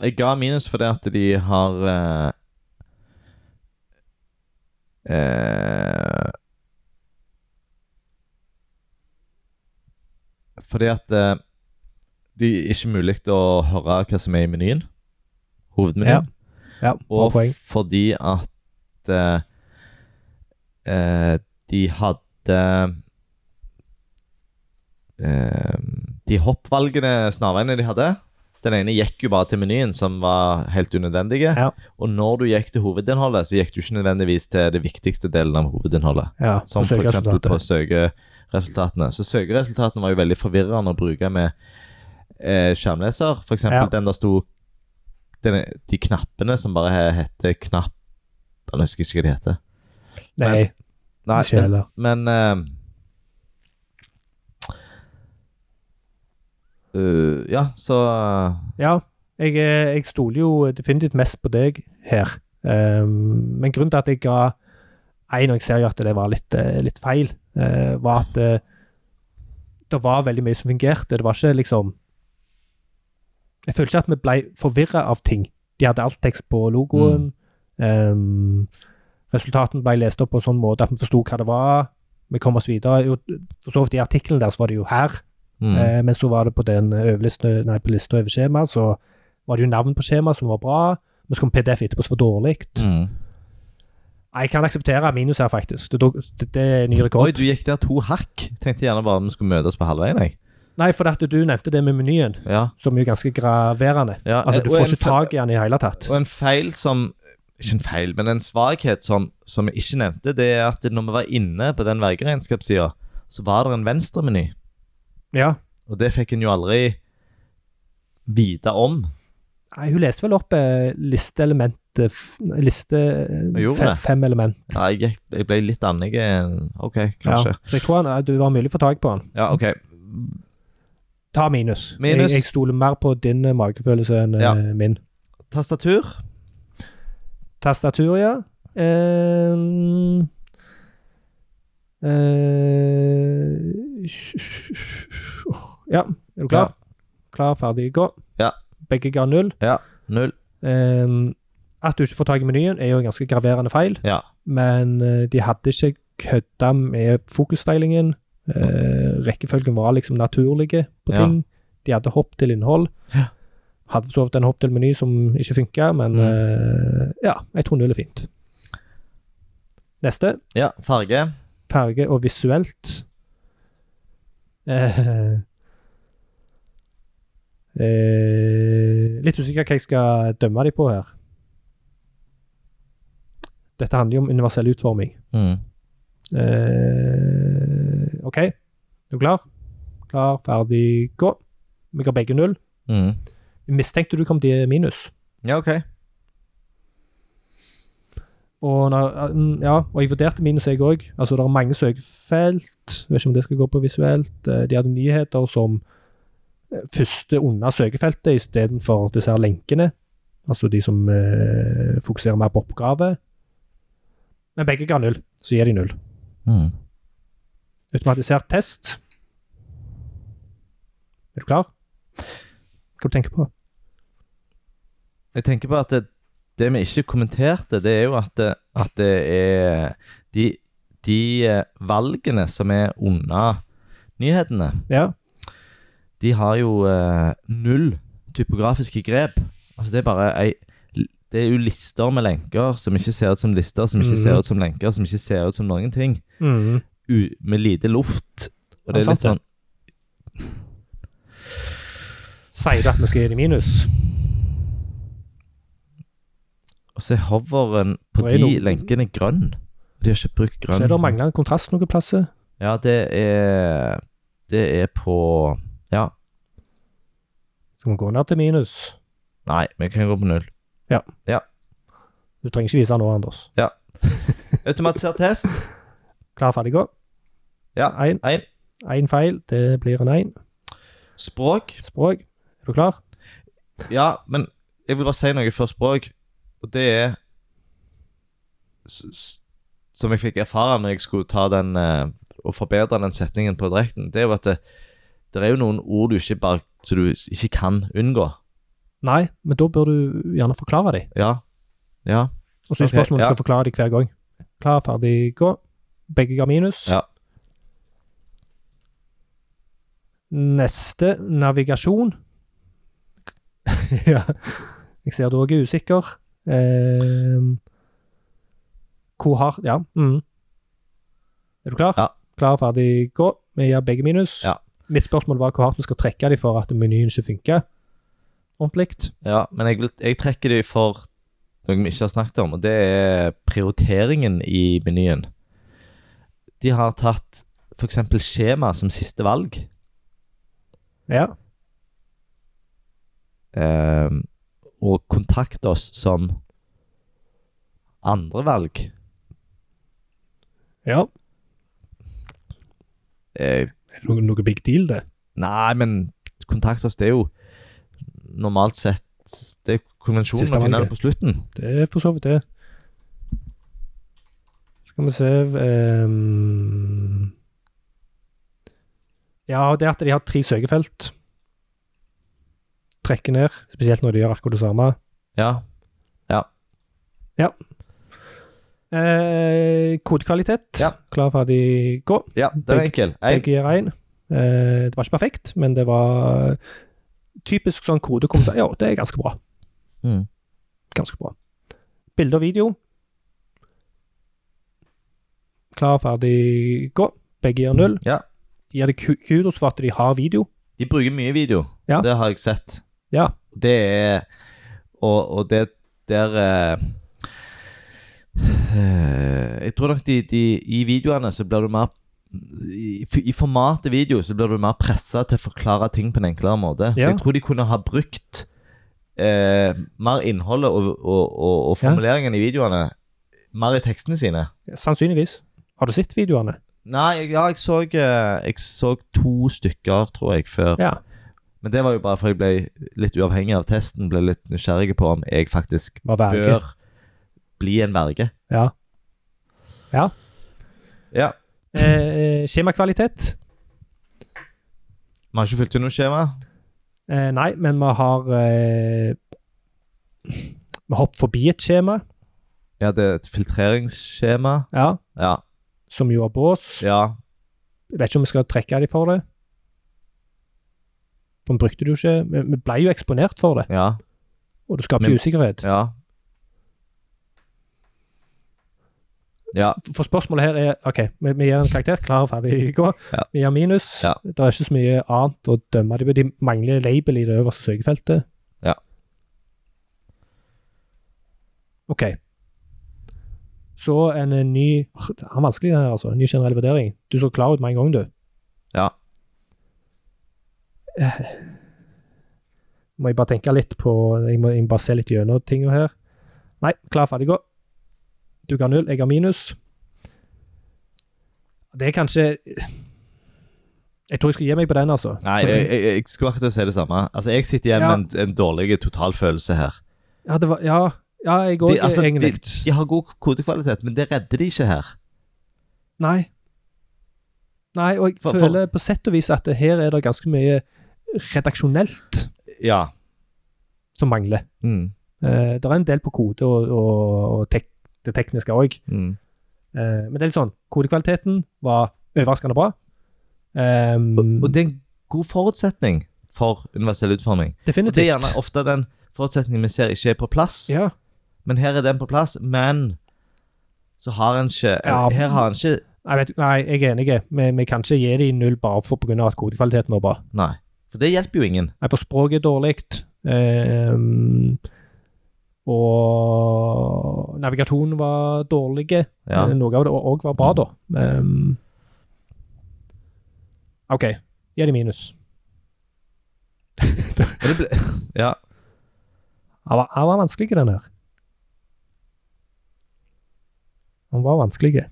S2: Jeg ga minus fordi at de har eh, eh, Fordi at eh, det er ikke mulig å høre hva som er i menyen. Hovedmenyen.
S1: Ja, bra
S2: og
S1: poeng.
S2: fordi at eh, eh, de hadde eh, De hoppvalgene, snarveiene de hadde Den ene gikk jo bare til menyen, som var helt unødvendige.
S1: Ja.
S2: Og når du gikk til hovedinnholdet, så gikk du ikke nødvendigvis til det viktigste delen av hovedinnholdet.
S1: Ja,
S2: Som
S1: på
S2: for eksempel
S1: søkeresultatet.
S2: på søkeresultatene. Så søkeresultatene var jo veldig forvirrende å bruke med eh, skjermleser. For eksempel
S1: Ja.
S2: den der sto den, De knappene som bare he- heter knapp Jeg husker ikke hva de heter.
S1: Nei,
S2: Nei,
S1: ikke heller.
S2: men eh, øh, Ja, så
S1: Ja, jeg, eh, jeg stoler jo definitivt mest på deg her. Ehm, men grunnen til at jeg ga én, og jeg ser jo at det var litt, eh, litt feil, eh, var at eh, det var veldig mye som fungerte. Det var ikke liksom Jeg føler ikke at vi ble forvirra av ting. De hadde alt tekst på logoen.
S2: Mm.
S1: Ehm, resultatene ble lest opp på en sånn måte at vi forsto hva det var. Vi kom oss videre. Jo, For så vidt i artikkelen der så var det jo her.
S2: mm,
S1: Eh, men så var det på den overliste, nei, på lista over skjema, så var det jo navn på skjema som var bra, men så kom PDF etterpå som var dårlig.
S2: mm.
S1: Jeg kan akseptere minus her, faktisk. Det, det, det er ny rekord.
S2: Oi, du gikk der to hakk. Tenkte gjerne bare vi skulle møtes på halvveien. jeg.
S1: Nei, for at du nevnte det med menyen,
S2: Ja.
S1: som er jo ganske graverende.
S2: Ja,
S1: altså, du
S2: og
S1: får
S2: en
S1: ikke tak i den i hele tatt.
S2: Og en feil som Ikke en feil, men en svakhet som, som jeg ikke nevnte, det er at når vi var inne på den vergeregnskapssida, så var det en venstremeny.
S1: Ja.
S2: Og det fikk en jo aldri vite om.
S1: Nei, hun leste vel opp eh, listeelementet f- Liste eh,
S2: gjorde
S1: fe,
S2: det.
S1: fem element.
S2: Ja, jeg, gikk- jeg ble litt annig. OK, kanskje.
S1: Ja, så jeg tror han, eh, du var mulig å få tak på han.
S2: Ja, OK.
S1: Ta minus.
S2: Minus.
S1: Jeg, jeg stoler mer på din eh, magefølelse enn eh,
S2: Ja.
S1: min.
S2: Tastatur.
S1: Tastatur, ja. Ehm, eh, ja, er du klar?
S2: Ja.
S1: Klar, ferdig, gå.
S2: Ja.
S1: Begge ga null.
S2: Null.
S1: Ehm, at du ikke får tak i menyen, er jo en ganske graverende feil,
S2: Ja.
S1: men eh, de hadde ikke kødda med fokusstylingen. Eh, rekkefølgen var liksom naturlige på
S2: Ja.
S1: ting. De hadde hopp til innhold.
S2: Ja. Mm.
S1: Hadde så vidt en hopp til meny som ikke funka, men eh, ja, jeg tror null er fint. Neste.
S2: ja. Farge.
S1: Farge og visuelt. Eh, eh, litt usikker hva jeg skal dømme dem på her. Dette handler jo om universell utforming.
S2: Mm.
S1: Eh, OK, er du klar? Klar, ferdig, gå. Vi ga begge null.
S2: Mm.
S1: Mistenkte du kom til minus.
S2: Ja, OK.
S1: Og, når, eh, ja, og jeg vurderte minus, jeg òg. Altså, det er mange søkefelt. Vet ikke om det skal gå på visuelt. Eh, De hadde nyheter som eh, første under søkefeltet istedenfor disse her lenkene. Altså de som eh, fokuserer mer på oppgave. Men begge ga null, så gir de null.
S2: Mm.
S1: Automatisert test. Er du klar? Hva du tenker du på?
S2: Jeg tenker på at det, det vi ikke kommenterte, det er jo at det, at det er de, de eh, valgene som er unna nyhetene,
S1: Ja.
S2: de har jo eh, null typografiske grep. Altså det er bare ei Det er jo lister med lenker som ikke ser ut som lister, som ikke
S1: Mhm.
S2: ser ut som lenker, som ikke ser ut som noen ting.
S1: Mm.
S2: U med lite luft.
S1: Ja,
S2: Og det er
S1: sant
S2: litt
S1: det.
S2: sånn
S1: Sier du at vi skal gi dem minus?
S2: Og så er hoveren på
S1: Det er
S2: de
S1: noe-
S2: lenkene grønn. De har ikke brukt grønn.
S1: Så er det manglende kontrast noen plasser.
S2: Ja, det er Det er på Ja.
S1: Skal vi gå ned til minus?
S2: Nei, vi kan gå på null.
S1: Du trenger ikke vise den nå, Anders.
S2: Automatisert test.
S1: Klar, ferdig, gå.
S2: Ja.
S1: Én.
S2: Én.
S1: Én feil, det blir en én.
S2: Språk.
S1: Språk. Er du klar?
S2: Ja, men jeg vil bare si noe før språk, og det er s s Som jeg fikk erfare når jeg skulle ta den eh, og forbedre den setningen på direkten, det er jo at det, det er jo noen ord du ikke bare Så du ikke kan unngå.
S1: Nei, men da bør du gjerne forklare dem.
S2: Ja. Ja.
S1: Og så er
S2: Ok,
S1: spørsmålet om du
S2: ja.
S1: skal forklare dem hver gang. Klar, ferdig, gå. Begge ga minus.
S2: Ja.
S1: Neste navigasjon. ja. Jeg ser du òg er usikker. Eh, hvor har Ja. Mm. Er du klar?
S2: Ja.
S1: Klar, ferdig, gå. Vi gir begge minus.
S2: Ja.
S1: Mitt spørsmål var hvor hardt vi skal trekke de for at menyen ikke funker ordentlig.
S2: Ja, men jeg, vil, jeg trekker de for noe vi ikke har snakket om, og det er prioriteringen i menyen. De har tatt f.eks. skjema som siste valg.
S1: Ja.
S2: eh, og kontakt oss som andre valg.
S1: ja.
S2: Eh,
S1: Noe, noe big deal, det.
S2: nei, men kontakt oss, det er jo normalt sett Det er konvensjonen
S1: Siste
S2: å finne
S1: valget.
S2: det på slutten.
S1: Det er for så vidt det. Skal vi se ehm. Ja, det at de har tre søkefelt. Trekker ned, spesielt når de gjør akkurat det samme.
S2: Ja.
S1: Eh, kodekvalitet.
S2: Ja.
S1: Klar, ferdig, gå.
S2: ja, det var
S1: Begge-
S2: enkelt.
S1: Jeg
S2: Jeg,
S1: gir én. Eh, det var ikke perfekt, men det var eh, typisk sånn kodekommentar. Ja, det er ganske bra.
S2: mm.
S1: Ganske bra. Bilde og video. Klar, ferdig, gå. Begge gir null.
S2: Ja.
S1: Gir det ku- kudos for at de har video.
S2: De bruker mye video.
S1: Ja.
S2: Det har jeg sett.
S1: Ja.
S2: Det er Og, og det der eh, eh, Jeg tror nok de, de I videoene så blir du mer i, I formatet video så blir du mer pressa til å forklare ting på en enklere måte. Så
S1: Ja.
S2: jeg tror de kunne ha brukt eh, mer innholdet og, og, og,
S1: Ja.
S2: og formuleringene i videoene mer i tekstene sine.
S1: Sannsynligvis. Har du sett videoene?
S2: Nei, ja, jeg så, eh, jeg så to stykker, tror jeg, før
S1: Ja.
S2: Men det var jo bare fordi jeg ble litt uavhengig av testen, ble litt nysgjerrig på om jeg faktisk
S1: Var verge.
S2: bør bli en verge.
S1: Ja.
S2: Ja.
S1: Eh, skjemakvalitet.
S2: Vi har ikke fulgt ut noe skjema.
S1: Eh, nei, men vi har eh, Vi hopper forbi et skjema,
S2: Ja, det er et filtreringsskjema.
S1: ja,
S2: Ja.
S1: som jo er bås.
S2: ja.
S1: Jeg vet ikke om vi skal trekke de for det. For vi brukte det jo ikke. Vi vi ble jo eksponert for det,
S2: Ja.
S1: og det skaper
S2: Men-
S1: jo usikkerhet.
S2: Ja. Ja.
S1: For spørsmålet her er OK, vi, vi gir en karakter. Klar, ferdig, gå.
S2: Ja.
S1: Vi gir minus.
S2: Ja.
S1: Det er ikke så mye annet å dømme dem på. De mangler label i det øverste søkefeltet.
S2: Ja.
S1: OK. Så en eh, ny Det er vanskelig, den her, altså. Ny generell vurdering. Du så klar ut med en gang, du.
S2: Ja.
S1: Må jeg bare tenke litt på Jeg må, jeg må bare se litt gjennom tingene her. Nei, klar, ferdig, gå. Du ga null, jeg har minus. Det er kanskje Jeg tror jeg skal gi meg på den, altså.
S2: Nei, jeg, jeg, jeg skulle akkurat til å si det samme. Altså, jeg sitter igjen
S1: Ja.
S2: med en, en dårlig totalfølelse her.
S1: Ja, det var, ja, ja jeg òg,
S2: De, altså, de,
S1: egentlig.
S2: de har god kodekvalitet, men det redder de ikke her.
S1: Nei. Nei, og jeg
S2: For- for-
S1: føler på sett og vis at det her er det ganske mye redaksjonelt
S2: Ja.
S1: som mangler.
S2: Mm.
S1: Eh, det er en del på kode og, og, og tek, det tekniske òg.
S2: Mm.
S1: Eh, men det er litt sånn, kodekvaliteten var overraskende bra. Ehm,
S2: Og det er en god forutsetning for universell utforming. Og
S1: definitivt.
S2: det er gjerne ofte den forutsetningen vi ser ikke er på plass.
S1: ja.
S2: Men her er den på plass, men så har en ikke
S1: Ja.
S2: Her har en ikke
S1: Nei, vet, du- nei, jeg er enig. Vi, vi kan ikke gi dem null bare for pga. at kodekvaliteten var bra.
S2: Nei. For det hjelper jo ingen.
S1: Nei, for språket er dårlig. ehm, og navigasjonen var dårlig.
S2: Ja.
S1: Eh, Noe av det òg var bra, da. Ehm, OK. Gi dem minus.
S2: Og det ble, ja.
S1: Han var, han var vanskelig, den her. Han var vanskelig.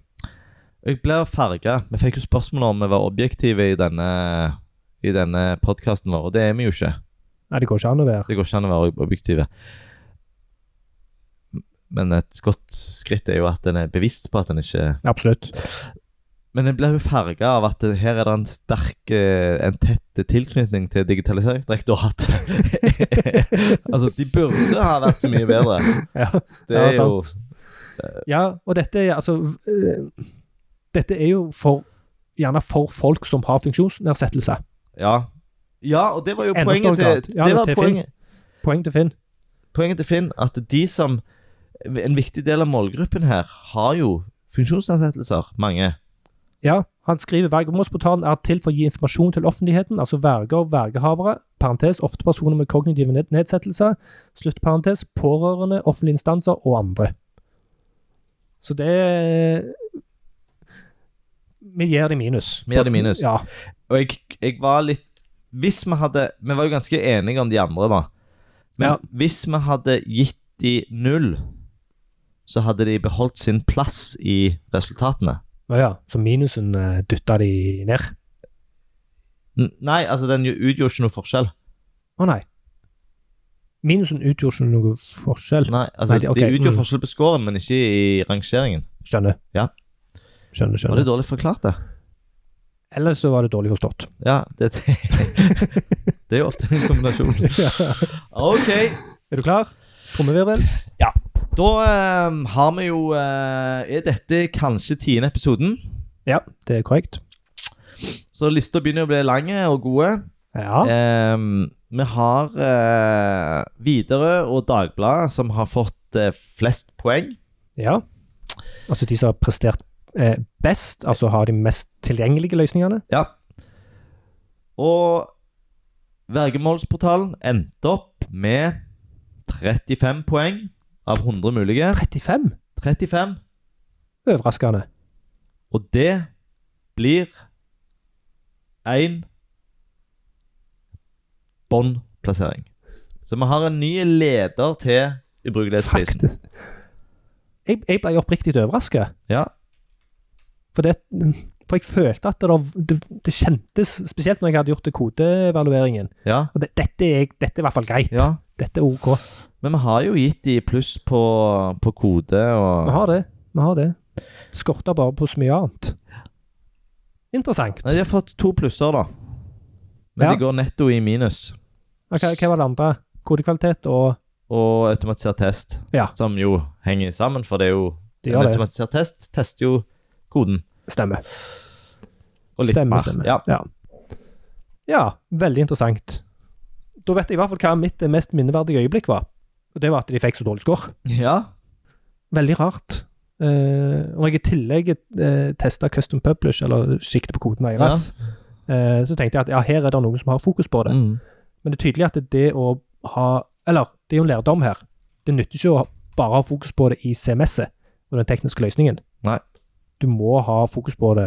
S2: Jeg blir farga. Vi fikk jo spørsmål om vi var objektive i denne, i denne podkasten vår, og det er vi jo ikke.
S1: Nei, det går ikke an å være
S2: Det går ikke an å være ob- objektive. Men et godt skritt er jo at en er bevisst på at en ikke
S1: Absolutt.
S2: Men jeg blir jo farga av at det- her er det en sterk, eh, en tett tilknytning til Digitaliseringsdirektoratet. altså, de burde ha vært så mye bedre.
S1: Ja,
S2: Det
S1: Ja,
S2: er jo
S1: ja og dette er altså eh, Dette er jo for, gjerne for folk som har funksjonsnedsettelse.
S2: Ja. ja, og det var jo
S1: Enda
S2: poenget
S1: større grad.
S2: til,
S1: Ja,
S2: det var
S1: til Finn.
S2: poenget,
S1: Poeng til Finn.
S2: poenget til Finn at de som En viktig del av målgruppen her har jo funksjonsnedsettelser, mange.
S1: Ja, han skriver vergemålsportalen er til for å gi informasjon til offentligheten, altså verger og vergehavere, parentes ofte personer med kognitive ned nedsettelser, sluttparentes pårørende, offentlige instanser og andre. Så det Vi gir det minus.
S2: Vi gir det minus.
S1: Ja.
S2: Og jeg, jeg var litt Hvis vi hadde Vi var jo ganske enige om de andre, da. Men
S1: Ja.
S2: hvis vi hadde gitt de null, så hadde de beholdt sin plass i resultatene.
S1: Å ja. Så minusen eh, dytta de ned?
S2: N nei, altså, den jo- utgjorde ikke noe forskjell.
S1: Å nei. Minusen utgjorde ikke noe forskjell.
S2: Nei, altså,
S1: Nei, de- ok,
S2: De utgjorde
S1: mm.
S2: forskjell på scoren, men ikke i rangeringen.
S1: Skjønner.
S2: Ja.
S1: Skjønner,
S2: Var det
S1: skjønner.
S2: dårlig forklart, det?
S1: Ellers så var det dårlig forstått.
S2: Ja, det, det, det er jo ofte en kombinasjon. OK,
S1: Er du klar? Trommevirvel?
S2: da eh, har vi jo eh, Er dette kanskje tiende episoden?
S1: Ja, det er korrekt.
S2: Så lista begynner å bli lang og gode.
S1: Ja.
S2: Ehm, vi har eh, Widerøe og Dagbladet som har fått eh, flest poeng.
S1: Ja. Altså de som har prestert eh, best, altså har de mest tilgjengelige løsningene.
S2: Ja. Og Vergemålsportalen endte opp med 35 poeng av 100 mulige.
S1: 35!
S2: 35.
S1: Overraskende.
S2: Og det blir én båndplassering. Så vi har en ny leder til ubrukelighetsprisen.
S1: Faktisk. Jeg, jeg ble oppriktig overrasket.
S2: Ja.
S1: For, det, for jeg følte at det, da- det, det kjentes, spesielt når jeg hadde gjort det kodeevalueringen.
S2: Ja.
S1: Og det, dette, er, dette er i hvert fall greit.
S2: ja.
S1: Dette er OK.
S2: Men vi har jo gitt de pluss på, på kode
S1: Vi
S2: og
S1: har det. Vi har det. Skorter bare på så mye annet. Interessant.
S2: Nei, De har fått to plusser, da. Men
S1: Ja.
S2: de går netto i minus.
S1: Ok, hva var det andre? Kodekvalitet og
S2: Og automatisert test,
S1: Ja.
S2: som jo henger sammen, for det er jo
S1: De
S2: En
S1: gjør det.
S2: automatisert test tester jo koden.
S1: Stemme.
S2: Og litt
S1: Stemmer,
S2: mer.
S1: stemmer.
S2: Ja.
S1: Ja. ja, veldig interessant. Da vet jeg i hvert fall hva mitt mest minneverdige øyeblikk var. Og det var at de fikk så dårlig score.
S2: ja.
S1: Veldig rart. Eh, og når jeg i tillegg eh, testa Custom Publish, eller siktet på koden deres, eh, så tenkte jeg at ja, her er det noen som har fokus på det.
S2: Mm.
S1: Men det er tydelig at det, det å ha Eller, det er jo en lærdom her. Det nytter ikke å bare ha fokus på det i CMS-et og den tekniske løsningen.
S2: Nei.
S1: Du må ha fokus på det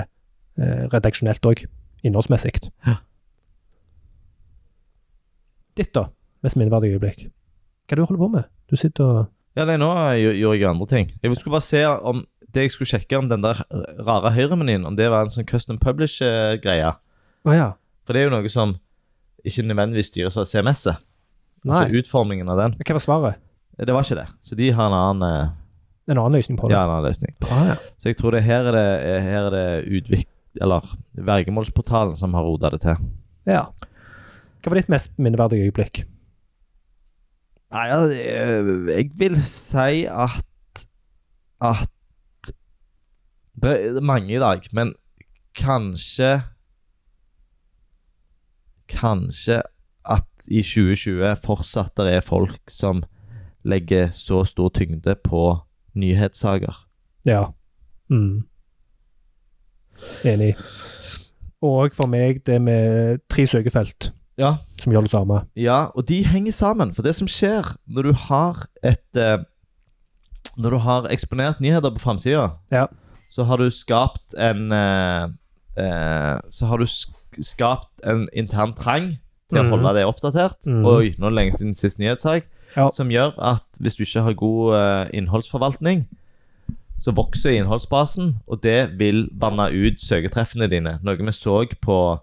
S1: eh, redaksjonelt òg, innholdsmessig.
S2: Ja.
S1: Ditt, da? Mest minneverdige øyeblikk. Hva er det du holder på med? Du sitter og
S2: ja, nei, nå gj- gjorde jeg andre ting. Jeg skulle bare se om det jeg skulle sjekke om den der rare høyremenyen, om det var en sånn custom publish-greie.
S1: Å ja.
S2: For det er jo noe som ikke nødvendigvis styres av CMS-et.
S1: Nei.
S2: Altså utformingen av den.
S1: Hva var svaret?
S2: Det var ikke det. Så de har en annen, eh,
S1: En annen løsning på
S2: de
S1: det?
S2: har en annen løsning.
S1: Bra, ja.
S2: Så jeg tror det her er det, her er det utvik... Eller vergemålsportalen som har rota det til.
S1: ja. Hva var ditt mest minneverdige øyeblikk?
S2: Nei, ja, det- eh, jeg vil si at At Det er mange i dag, men kanskje Kanskje at i 2020 fortsatt det er folk som legger så stor tyngde på nyhetssaker.
S1: Ja. Mm. Enig. Og for meg det med tre søkefelt
S2: Ja,
S1: som gjør det samme.
S2: Ja, og de henger sammen. For det som skjer når du har et eh, Når du har eksponert nyheter på framsida,
S1: Ja.
S2: så har du skapt en eh, eh, Så har du sk skapt en intern trang til
S1: Mhm.
S2: å holde deg oppdatert.
S1: Mhm.
S2: Oi, nå er det lenge siden sist nyhetssak.
S1: Ja.
S2: Som gjør at hvis du ikke har god eh, innholdsforvaltning, så vokser innholdsbasen, og det vil vanne ut søketreffene dine. Noe vi så på,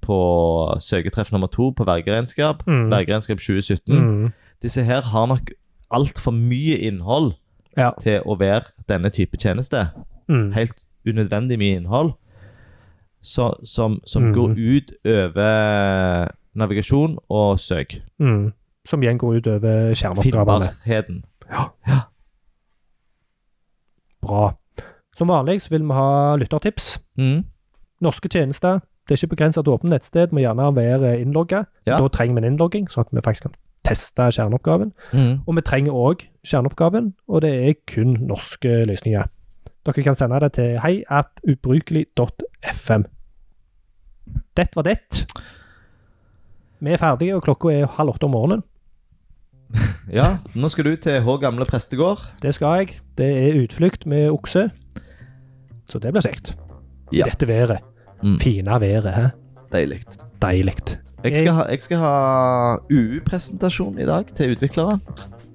S2: på søketreff nummer to på vergeregnskap.
S1: Mm.
S2: Vergeregnskap 2017.
S1: Mm.
S2: Disse her har nok altfor mye innhold
S1: Ja.
S2: til å være denne type tjeneste.
S1: Mm.
S2: Helt unødvendig mye innhold så, som, som
S1: Mm.
S2: går ut over navigasjon og søk.
S1: Mm. Som igjen går ut over skjermoppgavene.
S2: Finnbarheten.
S1: Bra. Som vanlig så vil vi ha lyttertips.
S2: Mm.
S1: Norske tjenester, Det er ikke begrensa til åpne nettsted, må gjerne være innlogga.
S2: Ja.
S1: Da trenger vi en innlogging, sånn at vi faktisk kan teste kjerneoppgaven.
S2: Mhm.
S1: Og vi trenger òg kjerneoppgaven, og det er kun norske løsninger. Dere kan sende det til heiattubrukelig.fm. Det var det. Vi er ferdige, og klokka er halv åtte om morgenen.
S2: Ja, nå skal du til H gamle prestegård.
S1: Det skal jeg. Det er utflukt med okse. Så det blir kjekt. I
S2: Ja.
S1: dette været.
S2: Mm.
S1: Fine været, hæ?
S2: Deilig.
S1: Deilig.
S2: Jeg skal ha, jeg skal ha UU-presentasjon i dag til utviklere.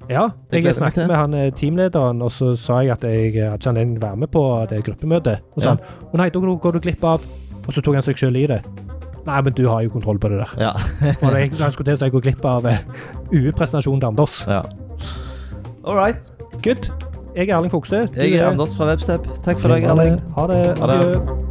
S1: Ja,
S2: Det gleder
S1: jeg
S2: jeg meg
S1: snakket
S2: til.
S1: med han eh, teamlederen, og så sa jeg at jeg eh, hadde ikke anledning til å være med på det gruppemøtet. Og
S2: Ja.
S1: sa han å nei, da går du- går du glipp av Og så tok han seg sjøl i det. Nei, men du har jo kontroll på det der.
S2: Ja.
S1: For jeg, han skulle til så jeg går glipp av eh, UE-presentasjonen til Anders.
S2: ja. All right.
S1: Good. Jeg er Erling Fokse. Du
S2: Jeg er Anders fra Webstep. Takk for deg,
S1: Ha det.
S2: Erling.
S1: Ha det.
S2: Ha det.
S1: Adjø.